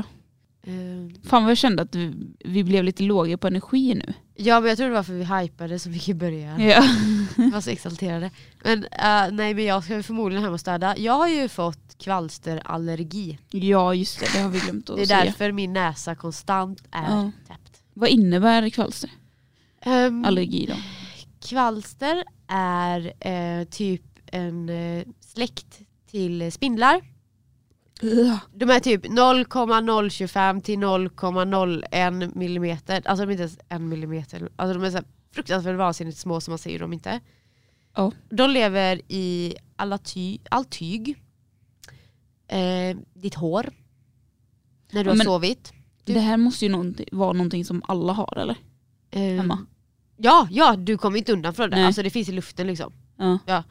Eh,
Fan vad jag kände att vi, vi blev lite låga på energi nu.
ja, men jag tror det var för vi hypade så mycket i början.
Ja.
Vi var så exalterade. Men, eh, nej, men jag ska förmodligen hem och städa. Jag har ju fått kvalsterallergi.
ja just det, det har vi glömt att
Det är
säga.
därför min näsa konstant är
Ja.
täppt.
Vad innebär kvalster?
Ehm,
Allergi då?
Kvalster är eh, typ en eh, släkt till spindlar. De är typ 0,025 till 0,01 millimeter. Alltså de är inte ens en millimeter. Alltså de är så här fruktansvärt vansinnigt små som man säger dem inte.
Ja.
De lever i alla ty- allt tyg. Eh, ditt hår. När du
Ja,
har
men-
sovit. Du-
Det här måste ju någonting, vara någonting som alla har eller?
Eh,
Hemma.
Ja, ja, du kommer inte undan från det.
Nej.
Alltså det finns i luften liksom.
Ja.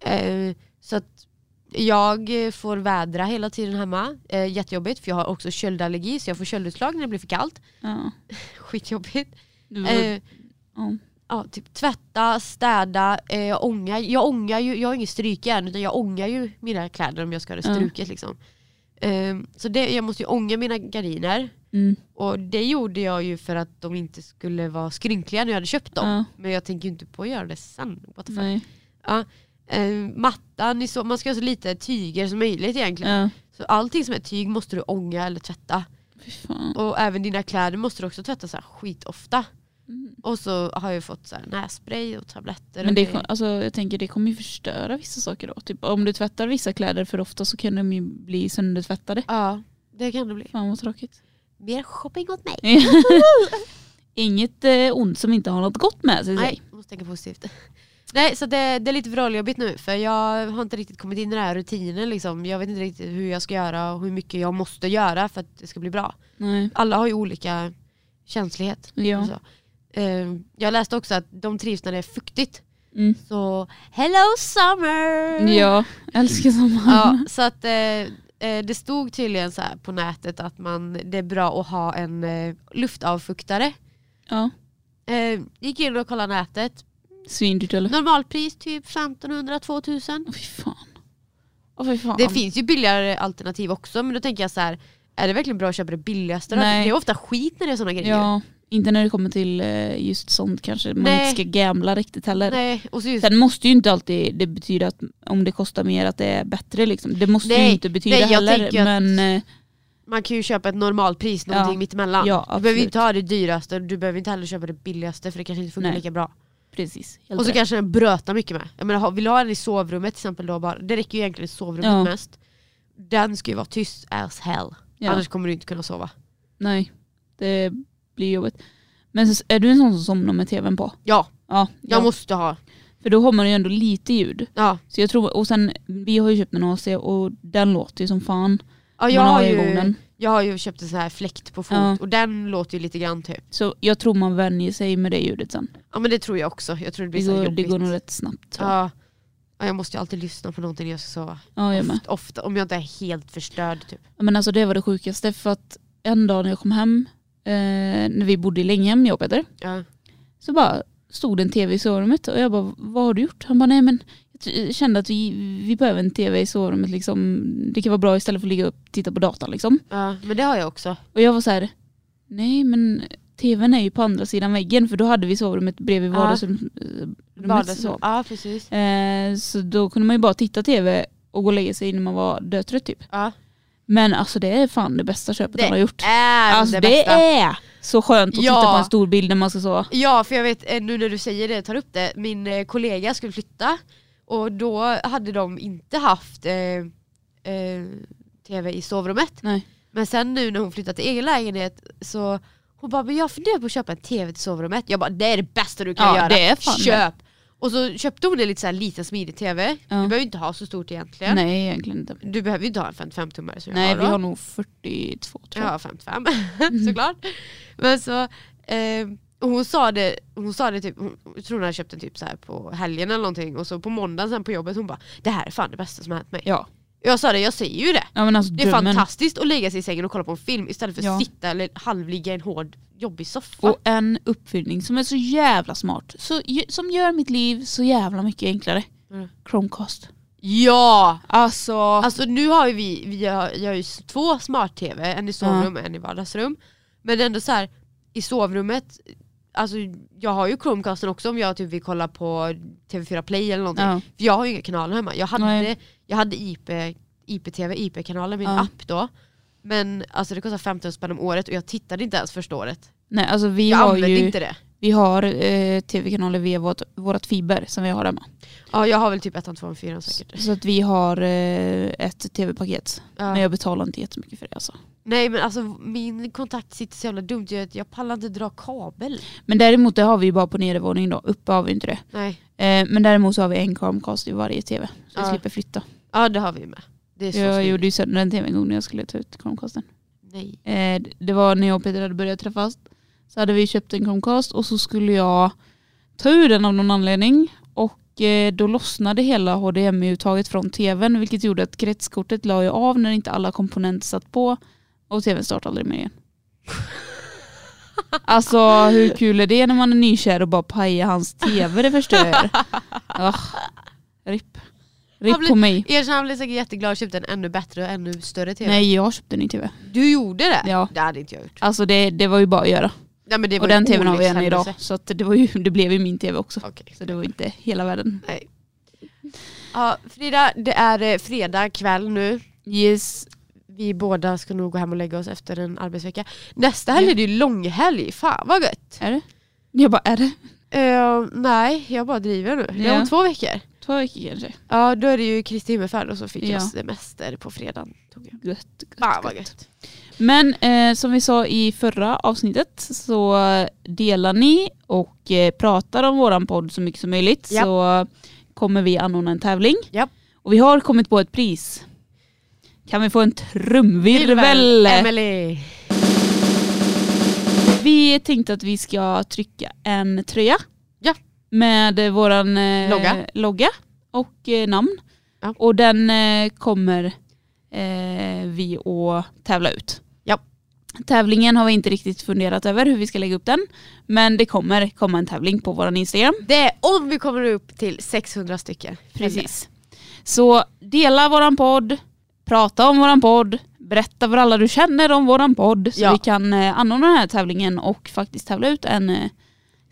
Eh, så att jag eh, får vädra hela tiden hemma. Eh, jättejobbigt för jag har också köldallergi så jag får köldutslag när det blir för kallt.
ja.
Skitjobbigt.
Du,
Eh,
ja.
ja, typ tvätta, städa, eh, ånga. Jag ångar ju, jag har ingen stryk än utan jag ångar ju mina kläder om jag ska ha det
Ja.
struket liksom. Eh, så det, jag måste ju ånga mina gardiner.
Mm.
Och det gjorde jag ju för att de inte skulle vara skrynkliga när jag hade köpt dem.
Ja.
Men jag tänker ju inte på att göra det sen. What the fuck?
Nej.
Eh, mattan, i så, man ska ha så lite tyger som möjligt egentligen.
Ja.
Så allting som är tyg måste du ånga eller tvätta.
Fy fan.
Och även dina kläder måste du också tvätta så här skitofta. Och så har jag fått så här nässpray och tabletter.
Men
och
det,
grejer.
kom- alltså, jag tänker det kommer ju förstöra vissa saker då. Typ, om du tvättar vissa kläder för ofta så kan de ju bli söndertvättade.
Ja, det kan det bli.
Fan vad tråkigt.
Mer shopping åt mig.
Inget eh, ont som inte har något gott med sig.
Nej, måste tänka positivt. Nej, så det, det är lite vråljobbigt nu för jag har inte riktigt kommit in i den här rutinen. Liksom. Jag vet inte riktigt hur jag ska göra och hur mycket jag måste göra för att det ska bli bra.
Nej.
Alla har ju olika känslighet. och
Ja.
så. Eh, jag läste också att de trivs när det är fuktigt.
Mm.
Så hello summer!
ja, älskar sommaren.
Mm. Ja, så att eh, eh, det stod tydligen så här på nätet att man, det är bra att ha en eh, luftavfuktare.
Ja.
Eh, gick in och kollade nätet.
Svindyrt eller?
Normalpris typ 1500-2000.
Åh fy fan. Åh fy fan.
Det finns ju billigare alternativ också men då tänker jag så här. Är det verkligen bra att köpa det billigaste då?
Nej.
Det är ofta skit när det är sådana grejer.
Ja, inte när det kommer till eh, just sånt kanske. Man
Nej.
inte ska gamla riktigt heller.
Nej, och så just,
Sen måste ju inte alltid det betyda att om det kostar mer att det är bättre liksom. Det måste
Nej,
ju inte betyda
nej, jag
heller.
tänker att-
Men eh,
man kan ju köpa ett normalpris, någonting
Ja.
mittemellan.
ja,
Du behöver
absolut.
inte ha det dyraste och du behöver inte heller köpa det billigaste för det kanske inte funkar
Nej.
lika bra.
Precis. helt
Och så
rätt.
kanske den brötar mycket med. Jag menar, ha- vill du ha den i sovrummet till exempel då bara, det räcker ju egentligen i sovrummet
Ja.
mest. Den ska ju vara tyst as hell.
ja.
Annars kommer du inte kunna sova.
Nej, det blir jobbigt. Men så, är du en sån som somnar med tvn på?
Ja,
Ja,
jag
ja.
måste ha.
för då har man ju ändå lite ljud.
Ja.
Så jag tror, och sen, vi har ju köpt en AC och den låter ju som fan.
Ja, jag,
man
har
har igång
ju,
den.
jag har ju köpt en sån här fläkt på fot
Ja.
och den låter ju lite grann typ.
Så jag tror man vänjer sig med det ljudet sen.
Ja men det tror jag också. Jag tror det
Det
blir så här
går, det
jobbigt.
går nog rätt snabbt. tror jag.
ja. ja, jag måste ju alltid lyssna på någonting när jag ska sova.
Ja, jag med.
Ofta, ofta, om jag inte är helt förstörd typ.
Ja, Men alltså det var det sjukaste för att en dag när jag kom hem, eh, när vi bodde i Länghem, jag och Peter,
Ja.
så bara stod det en tv i sovrummet och jag bara, vad har du gjort? Han bara, nej men jag ty- kände att vi, vi behöver en tv i sovrummet liksom. Det kan vara bra istället för att ligga upp och titta på datorn liksom.
ja, men det har jag också.
Och jag var så här, nej men tvn är ju på andra sidan väggen för då hade vi sovrummet bredvid
Ja.
vardagsrummet.
Vardagsrum. Ja precis.
Eh, så då kunde man ju bara titta tv och gå och lägga sig när man var dötrött typ.
Ja.
Men alltså det är fan det bästa köpet
Det
han har gjort.
Är
Alltså
det
det,
bästa.
är så skönt att
Ja.
titta på en stor bild när man ska sova.
Ja, för jag vet eh, nu när du säger det, tar upp det, min eh, kollega skulle flytta och då hade de inte haft eh, eh, tv i sovrummet.
Nej.
Men sen nu när hon flyttat till egen lägenhet så hon bara, men jag funderar på att köpa en tv till sovrummet. Jag bara, det är det bästa du kan
Ja,
göra.
det är fan det.
Köp! Och så köpte hon en lite så här liten smidig tv.
Ja.
Du behöver inte ha så stort egentligen.
Nej egentligen inte.
Du behöver ju inte ha en 55-tummare som
Nej
jag har
vi
då.
har nog 42 tror jag.
Ja, 55
Mhm.
såklart. Men så, eh, och hon sa det, hon sa det typ, hon, jag tror hon hade köpt den typ så här på helgen eller någonting och så på måndagen sen på jobbet hon bara det här är fan det bästa som har hänt mig.
Ja.
Jag sa det, jag säger ju det.
Ja, men alltså,
Det är
drömmen.
fantastiskt att lägga sig i sängen och kolla på en film istället för att
Ja.
sitta eller halvligga i en hård jobbig soffa.
Och en uppfinning som är så jävla smart. Så, som gör mitt liv så jävla mycket enklare.
Mm.
Chromecast.
ja!
Alltså,
Alltså nu har ju vi, vi har, jag har ju s- två smart-tv, en i sovrum och en i vardagsrum. Men det är ändå så här i sovrummet, alltså jag har ju Chromecasten också om jag typ vill kolla på TV4 Play eller någonting.
ja.
För jag har ju inga kanaler hemma. Jag hade,
Nej.
jag hade IP, IPTV, IP-kanalen, min
Ja.
app då. Men alltså det kostar 15 spänn om året och jag tittade inte ens första året.
Nej, alltså vi
Jag
har
använde
ju
inte det.
vi har, eh, tv-kanaler via vårt, vårt fiber som vi har hemma.
Ja jag har väl typ ettan, tvåan, fyran säkert.
Så att vi har eh, ett tv-paket.
Ja.
Men jag betalar inte jättemycket för det alltså.
Nej men alltså min kontakt sitter så jävla dumt, jag, jag pallar inte dra kabel.
Men däremot det har vi ju bara på nedervåning då. Uppe har vi inte det.
Nej.
Eh, men däremot så har vi en Chromecast i varje tv. Så vi
Ja.
slipper flytta.
Ja det har vi med. Det är så
jag
snyggt.
gjorde ju sönder en tv en gång när jag skulle ta ut Chromecasten.
Nej.
Eh, det var när jag och Peter hade börjat träffas. Så hade vi köpt en Chromecast och så skulle jag ta ur den av någon anledning. Och eh, då lossnade hela HDMI-uttaget från tvn vilket gjorde att kretskortet la ju av när inte alla komponenter satt på. Och tvn startade aldrig mer igen. Alltså hur kul är det när man är nykär och bara pajar hans tv det första jag gör. Ah, ripp.
Han
Ripp
blir-
på mig.
Erkänn han blev säkert jätteglad och köpte en ännu bättre och ännu större TV.
Nej jag köpte en ny tv.
Du gjorde det?
Ja.
Det hade inte jag gjort.
Alltså det, det var ju bara att göra.
Nej, men det
och
var ju
den tvn har vi än
olyckshändelse.
idag. Så att det, var ju, det blev ju min tv också.
Okej.
Så det var ju inte hela världen.
Ja, Frida, det är eh, fredag kväll nu.
Yes.
Vi båda ska nog gå hem och lägga oss efter en arbetsvecka. Nästa helg är det ju långhelg. Fan vad gött.
Är det? Jag bara, är det?
Eh, nej, jag bara driver nu. Det är
Ja.
om två veckor.
Två veckor kanske.
Ja, då är det ju Kristi himmelfärd och så fick
Ja.
jag semester på fredagen. Tog jag.
Gött, gött,
Fan vad gött.
Men eh, som vi sa i förra avsnittet så delar ni och eh, pratar om våran podd så mycket som möjligt
Japp.
så kommer vi anordna en tävling.
Japp.
Och vi har kommit på ett pris. Kan vi få en trumvirvel?
Emily.
Vi tänkte att vi ska trycka en tröja.
Ja.
Med eh, våran eh,
Logga.
logga och eh, namn.
Ja.
Och den eh, kommer eh, vi att tävla ut.
Ja.
Tävlingen har vi inte riktigt funderat över hur vi ska lägga upp den. Men det kommer komma en tävling på våran Instagram.
Det är om vi kommer upp till 600 stycken.
Precis. Så dela våran podd, prata om våran podd, berätta för alla du känner om våran podd så
Ja.
vi kan eh, anordna den här tävlingen och faktiskt tävla ut en eh,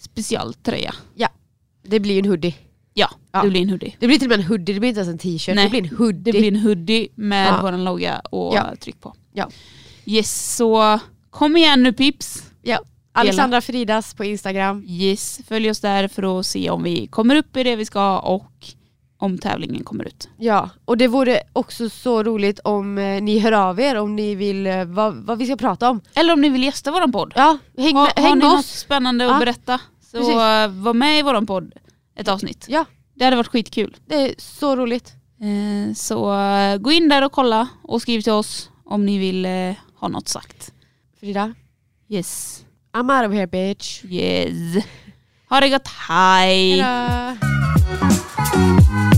specialtröja.
Det blir ju en hoodie.
Ja,
Ja.
det blir en hoodie.
Det blir till och med en hoodie, det blir inte ens en t-shirt.
Nej.
Det blir en
Det
hoodie.
blir en hoodie med
Ja.
våran logga och
Ja.
tryck på.
Ja.
Yes, så kom igen nu Pips.
Alexandra Fridas på Instagram.
Yes, följ oss där för att se om vi kommer upp i det vi ska och om tävlingen kommer ut.
Ja, och det vore också så roligt om eh, ni hör av er om ni vill eh, vad, vad vi ska prata om.
Eller om ni vill gästa våran podd.
Ja, häng,
har,
med,
har
häng
ni
med
något
oss.
spännande
Ja,
att berätta så
precis.
eh, var med i våran podd ett avsnitt.
Ja.
Det hade varit skitkul.
Det är så roligt.
Eh, Så eh, gå in där och kolla och skriv till oss om ni vill eh, ha något sagt.
Frida,
Yes.
I'm out of here bitch.
Yes. Ha det gott. Hej.
Hejdå.